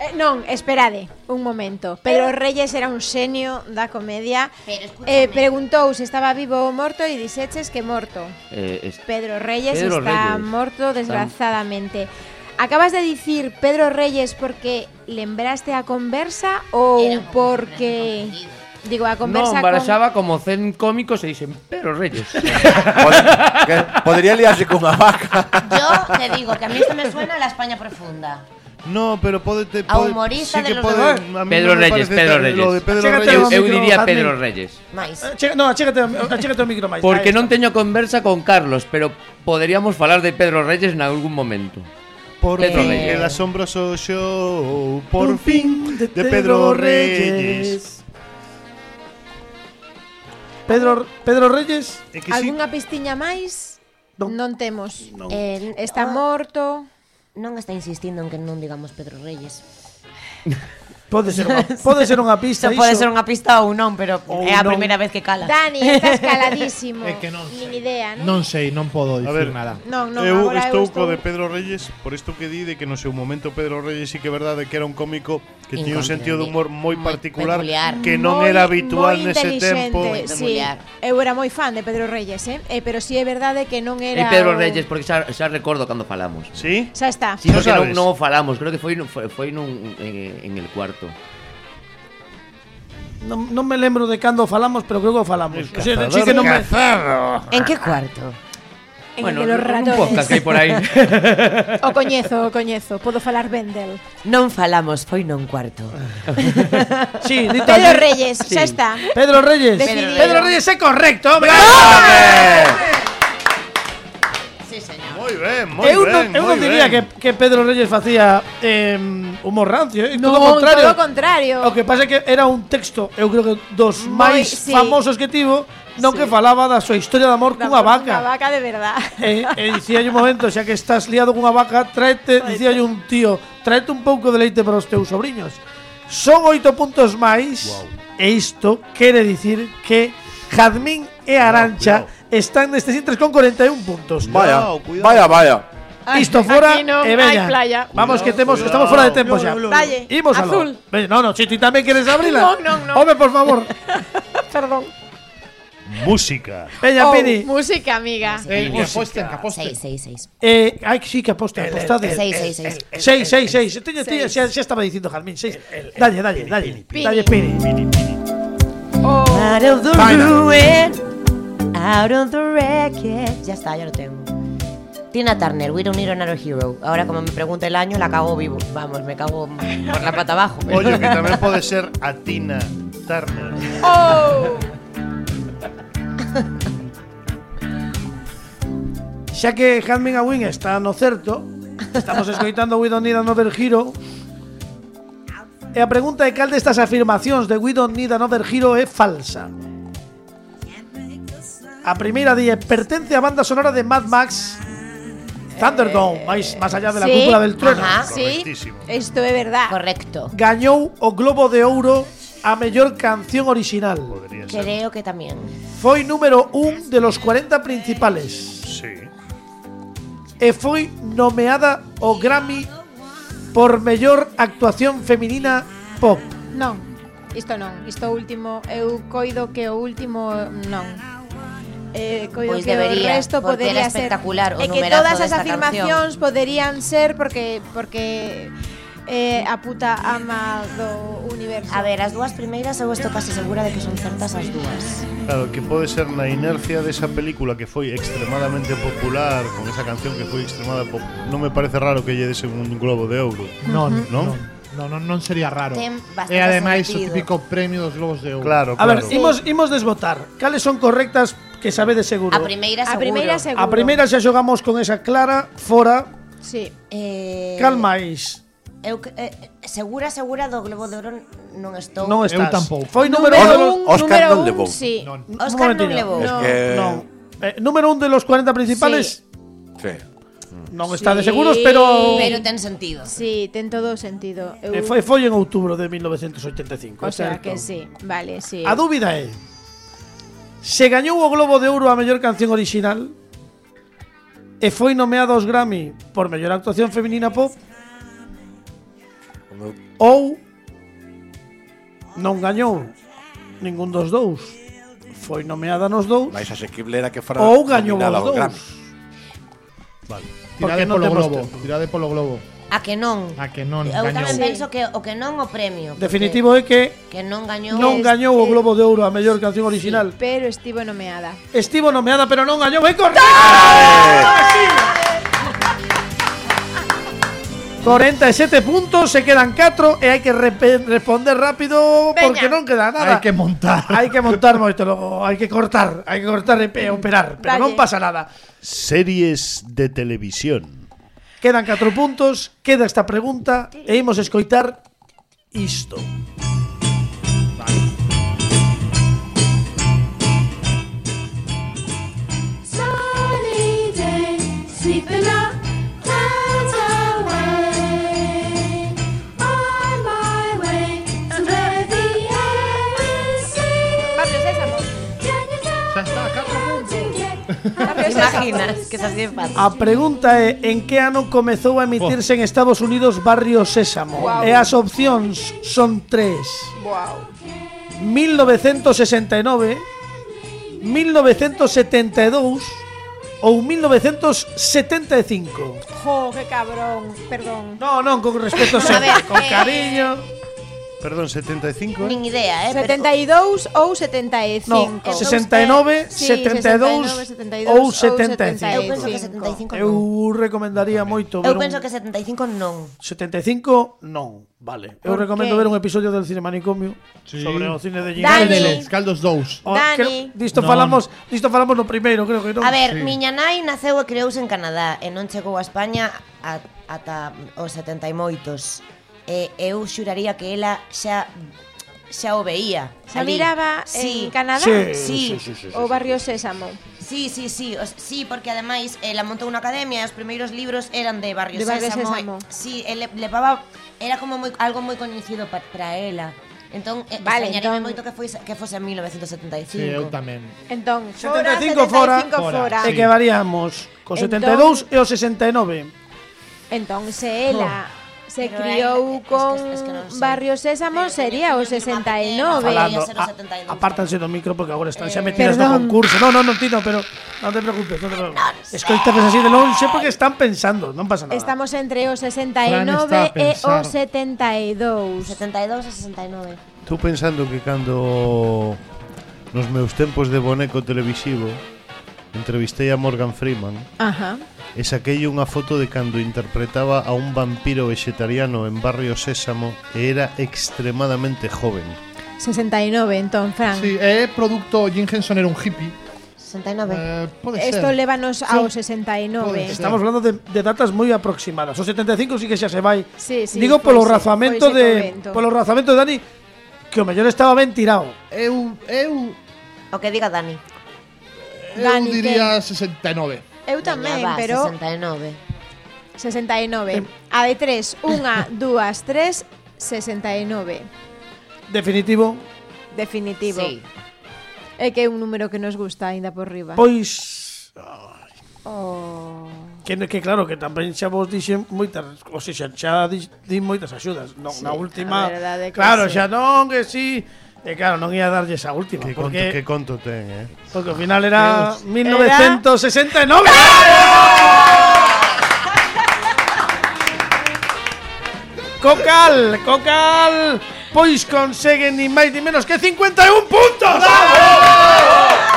F: eh, non, esperade un momento. Pedro Reyes era un xenio da comedia.
G: Pero escúchame.
F: Eh, preguntou se estaba vivo ou morto e dixeches que morto.
C: eh, es-
F: Pedro Reyes
C: Pedro Reyes.
F: está morto desgrazadamente. Acabas de dicir Pedro Reyes porque lembraste a conversa ou
G: Era un
F: porque
G: comprendido.
F: Digo, a
C: No,
F: conversa con...
C: embarazaba como zen cómico se dicen, pero Reyes.
J: Pod- que podría liarse con una vaca.
G: Yo te digo que a mí esto me suena a la España profunda.
B: No, pero pode, te,
G: A humorista de los demás.
B: a mí
C: Pedro
B: me
C: Reyes,
B: parece
C: Pedro
B: tan-
C: Reyes.
B: Lo de Pedro
A: Achégate
B: Reyes.
A: ao
C: Eu
A: micro,
C: diría
A: Jadmin.
C: Pedro Reyes.
G: Mais.
A: Achega- Eh, no, achégate, achégate o micro máis.
C: Porque
A: Ahí
C: non
A: está.
C: teño conversa con Carlos, pero poderíamos falar de Pedro Reyes en algún momento.
B: Eh, Por
C: Pedro
B: fin,
C: Reyes.
B: el asombroso show, oh, por fin, de Pedro Reyes.
A: Pedro, Pedro Reyes,
B: É que sí,
F: Algunha pistiña máis?
A: Non.
F: Non, non temos.
A: Non.
G: Eh,
F: Está
G: ah,
F: morto.
G: Non está insistindo en que non digamos Pedro Reyes.
A: pode ser unha, pode ser unha pista
G: Iso pode
A: iso.
G: ser unha pista ou non, pero
A: Ou
G: é a
A: non.
G: primeira vez que cala.
F: Dani, estás caladísimo.
H: É que non
F: Nin
H: sei.
F: idea, non?
H: Non sei, non podo
B: ver.
H: dicir nada.
F: Non, non,
B: eu
F: agora
B: estou
F: eu
B: co
F: estou...
B: de Pedro Reyes por isto que di de que no seu momento Pedro Reyes sí que é verdade que era un cómico que tiña un sentido de humor moi
G: Moi
B: particular
G: peculiar.
B: que non
F: Moi-
B: era habitual
F: moi
B: nese
F: inteligente,
B: tempo.
F: Sí.
G: Peculiar.
F: Eu era moi fan de Pedro Reyes, eh? eh pero si sí é verdade que non
C: E
F: era
C: Pedro
F: o-
C: Reyes, porque xa, xa recordo cando falamos.
B: Sí?
F: Xa está.
C: Sí,
B: Xa
C: porque non,
B: sabes.
C: non o falamos, creo que foi, nun- foi, foi nun, en, en el cuarto.
A: Non, non me lembro de cando falamos, pero creo que o falamos. O sea, sí que non me,
G: En que cuarto?
F: En el de los
C: un podcast que
F: ratones.
C: hai por aí.
F: O coñezo, o coñezo. Podo falar ben del.
G: Non falamos, foi non cuarto.
A: sí, dito
F: Pedro
A: así.
F: Reyes, xa está.
A: Pedro Reyes.
F: Decidido.
A: Pedro Reyes é correcto, hombre.
B: Moi ben, moi
A: Eu
B: ben.
A: non, eu non
B: moi
A: diría
B: ben.
A: Ah, que, que Pedro Reyes facía eh, humor rancio, eh? todo o
F: Non,
A: contrario.
F: Todo o contrario.
A: O que pasa é que era un texto, eu creo que dos
F: Moi,
A: máis
F: sí.
A: famosos que tivo, non que falaba da súa historia de amor cunha
F: Unha
A: vaca.
F: vaca de verdad.
A: E, e dicía un momento, xa que estás liado cunha vaca, tráete, dicía un tío, tráete un pouco de leite para os teus sobriños. Son oito puntos máis, e isto quere dicir que Jazmín e Arancha están neste Sintres con 41 puntos.
J: Vaya,
B: Cuidao, cuidao.
J: vaya, vaya.
F: Ay,
A: Isto fora
I: aquí non
A: e veña.
I: hai playa.
A: Vamos que temos,
B: Cuidao,
A: estamos fora de tempo xa.
F: Dalle,
A: Imos aló.
F: azul.
A: Veña, No, no, si ti tamén queres abrila.
I: Non, non, non.
A: Home, por favor.
F: Perdón.
B: Música.
A: Veña,
I: Oh,
A: Pini.
I: música, amiga.
H: Eh, que aposten, que aposten.
G: Seis, seis, seis.
A: Eh, ai, sí que aposta, apostade.
G: Seis, seis, seis.
A: 6, 6, 6. Teño, teño, xa, xa estaba dicindo Jalmín, 6. Dalle, dalle, dalle. Dalle, Pini.
F: Oh,
C: Ah,
G: Out of the
J: Vaina.
G: ruin, out of the wreckage. Ya está, ya lo tengo. Tina Turner, We Don't Need Another Hero. Ahora, como me pregunta el año, la cago vivo. Vamos, me cago por la pata abajo. pero-
B: Ollo, que tamén pode ser a Tina Turner.
I: Oh,
A: Xa que Jalmín a Win está no certo, estamos escoitando We Don't Need Another Hero. E a pregunta é cal destas afirmacións de We Don't Need Another Hero é falsa. A primeira di é pertence á banda sonora de Mad Max Thunderdome, máis máis allá de la
F: sí,
A: cúpula del trueno.
G: ajá.
F: Sí,
B: Correctísimo.
F: isto é verdad.
G: Correcto.
A: Gañou o Globo de Ouro a mellor canción original.
B: Podría ser.
G: Creo que también.
A: Foi número un de los 40 principales
B: Sí.
A: e foi nomeada o Grammy por mellor actuación feminina pop.
F: Non. Isto non. Isto último, eu coido que o último non. Eh, coido
G: Pois
F: que
G: Pues debería,
F: o resto
G: porque era
F: podería ser
G: espectacular o
F: E que
G: numerazo
F: todas as
G: desta
F: afirmacións poderían ser porque porque eh, a puta ama do universo.
G: A ver, as dúas primeiras eu estou casi segura de que son certas as dúas.
B: Claro, que pode ser na inercia desa película que foi extremadamente popular, con esa canción que foi extremada pop. Non me parece raro que lle dese un globo de ouro.
H: Non,
B: Non?
H: non, non, non, non sería raro.
G: Ten bastante
H: E ademais o
G: sentido.
H: típico premio dos Globos de Ouro.
B: Claro, claro.
A: A ver, imos, imos desbotar. Cales son correctas que sabe de seguro?
G: A primeira
F: a
G: seguro.
F: primeira seguro.
A: A primeira xa xogamos con esa clara fora.
F: Sí.
G: Eh,
A: Calmais.
G: Eu, que- eh, segura, segura do Globo de Oro non estou.
A: Non
H: eu
A: estás.
H: tampouco.
A: Foi número,
J: Número
A: un.
J: un. Óscar
F: número
J: non
F: un,
J: levou.
F: Sí.
H: Non.
G: Óscar non levou.
J: Es
F: No,
J: que.
A: Eh, número un de los 40 principales.
J: Sí.
A: Non está de
F: Sí.
A: seguros, pero...
G: Pero ten sentido.
F: Sí, ten todo o sentido. Eu,
A: Eh, foi, foi en outubro de 1985.
F: o
A: é
F: sea
A: certo.
F: que sí. Vale, sí.
A: A dúbida é Se gañou o Globo de Ouro a mellor canción original E foi nomeada aos Grammy Por mellor actuación feminina pop Ou Non gañou Ningún dos dous Foi nomeada nos dous
J: Mais asequible era que fora.
A: Ou gañou
J: nominada
A: os
J: ao
A: dous
J: Grammy.
H: Tirade
A: Porque non
H: polo
A: temos
H: globo.
A: tempo.
H: Tirade polo globo.
G: A que non.
H: A que non
G: Eu tamén
H: gañou.
G: penso que o que non o premio. porque
A: Definitivo é que
G: Que non gañou.
A: non gañou o Globo de Ouro a mellor canción original.
F: Pero estivo nomeada.
A: Estivo nomeada, pero non gañou. ¡Ven correcto! 47 puntos, se quedan 4 e hai que repe- responder rápido porque
F: Veña.
A: non queda nada.
H: Hai que montar.
A: Hai que montar moito logo, hai que cortar, hai que cortar e pe- operar, pero non
F: Vale.
A: pasa nada.
D: Series de televisión.
A: Quedan 4 puntos, queda esta pregunta e imos escoitar isto.
K: Sunny day, sleeping up, clouds away. On my way to where the air is
F: Barrio
K: clean.
F: Sésamo.
K: Can you
H: Xa está, catro
K: tell to get
G: Te imaginas que es así de fácil.
A: A pregunta é en que ano comezou a emitirse en Estados Unidos Barrio Sésamo?
F: Guau.
A: E as opcións son tres.
F: Wow.
A: 1969, 1972 ou 1975.
F: Jo, qué cabrón. Perdón.
A: No, non, con respecto sempre,
G: ver,
A: con
G: eh,
A: cariño.
D: Perdón, 75.
G: Nin idea, eh. pero-
F: 72 ou 75.
A: No, 69, 72 ou 75.
G: Eu penso que 75 non.
A: Eu recomendaría moito ver
G: Eu
A: un-
G: penso que 75 non.
A: 75 non, vale. Eu
F: Por
A: recomendo
F: que?
A: ver un episodio del Cine Manicomio
H: Sí.
A: sobre o cine de
G: Dani.
A: Gigante.
H: Caldeles, Caldos 2.
A: O-
G: Dani.
A: Ah, creo- Disto
H: Non.
A: falamos, disto falamos no primeiro, creo que non.
G: A ver,
H: Sí.
G: miña nai naceu e creouse en Canadá e non chegou a España a- ata os 70 e moitos. E eu xuraría que ela xa xa o veía.
F: Xa
G: alí.
F: miraba
G: sí.
F: en Canadá
A: Sí,
G: Sí,
F: o Barrio Sésamo.
G: sí, sí, sí, os- sí, porque ademais ela montou unha academia e os primeiros libros eran de Barrio
F: De Barrio
G: Sésamo.
F: Sésamo.
G: e- Sí, e le, levaba era como moi algo moi coñecido pa- para ela. Entón,
F: Vale,
G: vale, extrañarime
F: entón-
G: moito que foise que fose en 1975.
H: Sí, eu tamén.
F: Entón,
A: 75 fora.
F: 75 fora.
A: É
H: Sí.
A: que variamos co
F: Entón-
A: 72 e o 69.
F: Entón, se ela se
G: Pero aí,
F: criou
G: es que-
F: con
G: es que non sei.
F: Barrio Sésamo,
G: Pero
F: sería o
G: teño- teño unha pequena
F: 69.
A: Falando,
G: Veía ser o 72.
A: a, apártanse do micro porque agora están xa metidas no
F: perdón.
A: concurso. No, no, non, Tino, pero non te preocupes, non te preocupes. Escoitades así de lonxe porque están pensando, non pasa nada.
F: Estamos entre o
H: Fran
F: 69
H: está a
F: e o
H: pensar.
F: 72.
G: 72 a 69.
D: Tú pensando que cando nos meus tempos de boneco televisivo entrevistei a Morgan Freeman
F: Ajá.
D: e saquei unha foto de cando interpretaba a un vampiro vegetariano en Barrio Sésamo e era extremadamente joven.
F: 69, entón, Fran.
H: Sí, é producto Jim Henson era un hippie.
G: 69.
H: Eh, pode ser.
F: Esto lévanos ao
H: Pode
F: 69.
H: ser.
A: Estamos hablando de, de datas moi aproximadas. O 75 sí que xa se vai.
F: Sí, sí,
A: Digo polo
F: foise-
A: razamento
F: foise
A: de
F: convento.
A: polo razamento de Dani que o mellor estaba ben tirado.
H: Eu, eu,
G: O que diga Dani.
H: eu
F: Dani,
H: diría 69.
F: Eu tamén,
G: Veña, va,
F: pero
G: 69.
F: 69. A de 3, 1, 2, 3, 69.
A: Definitivo.
F: Definitivo.
G: Sí.
F: É que é un número que nos gusta aínda por riba.
A: Pois
F: Oh.
A: que, que claro que tamén xa vos dixen moitas, o sea, xa, xa di, di moitas axudas. Non na última.
F: a verdade é que
A: claro,
F: sí.
A: xa non que sí. E claro, non ia darlle esa última
D: Que conto, que
A: Ah, porque
D: conto ten, eh?
A: porque ao final era 1969. Cocal, Cocal, pois conseguen ni máis ni menos que 51 puntos.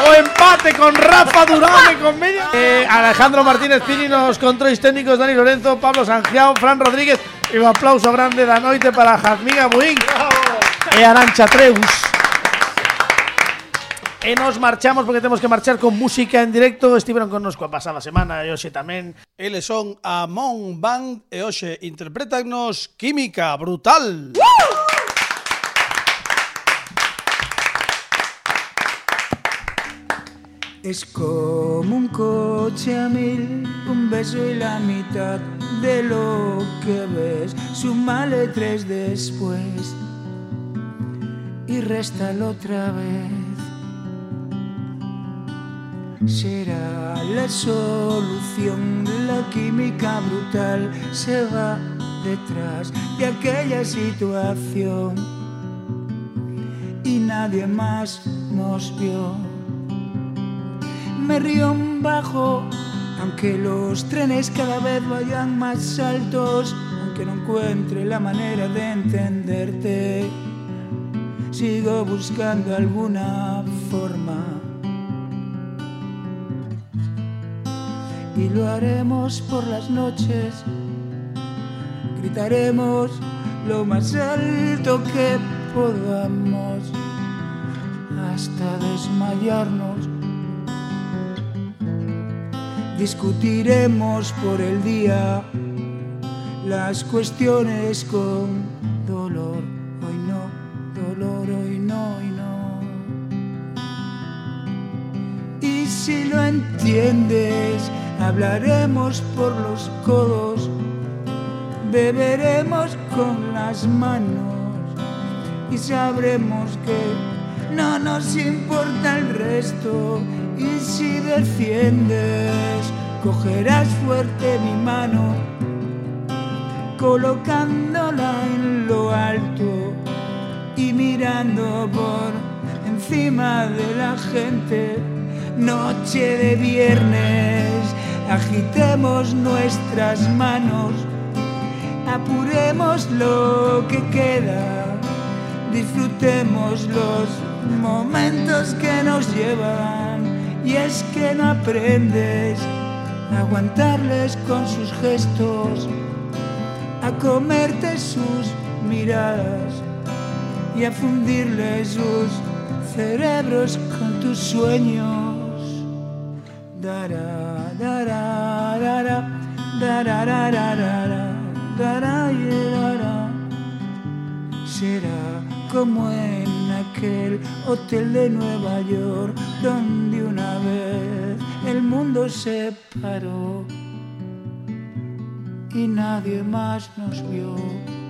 A: O empate con Rafa Durán e con media. Eh, Alejandro Martínez Pini nos controis técnicos Dani Lorenzo, Pablo Sangiao, Fran Rodríguez e un aplauso grande da noite para Jazmín Abuín e Arancha Treus. E nos marchamos porque temos que marchar con música en directo. Estiveron con nos coa pasada semana e hoxe tamén.
L: Eles son a Mon Band e hoxe interpretannos Química Brutal.
K: Es como un coche a mil, un beso y la mitad de lo que ves. Súmale tres después y réstalo otra vez. Será la solución, la química brutal se va detrás de aquella situación y nadie más nos vio me río bajo, aunque los trenes cada vez vayan más altos, un que no encuentre la manera de entenderte. Sigo buscando alguna forma. Y lo haremos por las noches. Gritaremos lo más alto que podamos hasta desmayarnos. Discutiremos por el día las cuestiones con dolor. Hoy no, dolor, hoy no, hoy no. Y si lo entiendes, hablaremos por los codos, beberemos con las manos y sabremos que no nos importa el resto. Y si defiendes, cogerás fuerte mi mano colocándola en lo alto y mirando por encima de la gente. Noche de viernes, agitemos nuestras manos, apuremos lo que queda, disfrutemos los momentos que nos llevan. Y es que no aprendes a aguantarles con sus gestos a comerte sus miradas y a fundirle sus cerebros con tus sueños. Dará, dará, dará, dará, dará, dará, dará, dará. Será como en aquel hotel de Nueva York donde una vez el mundo se paró y nadie más nos vio.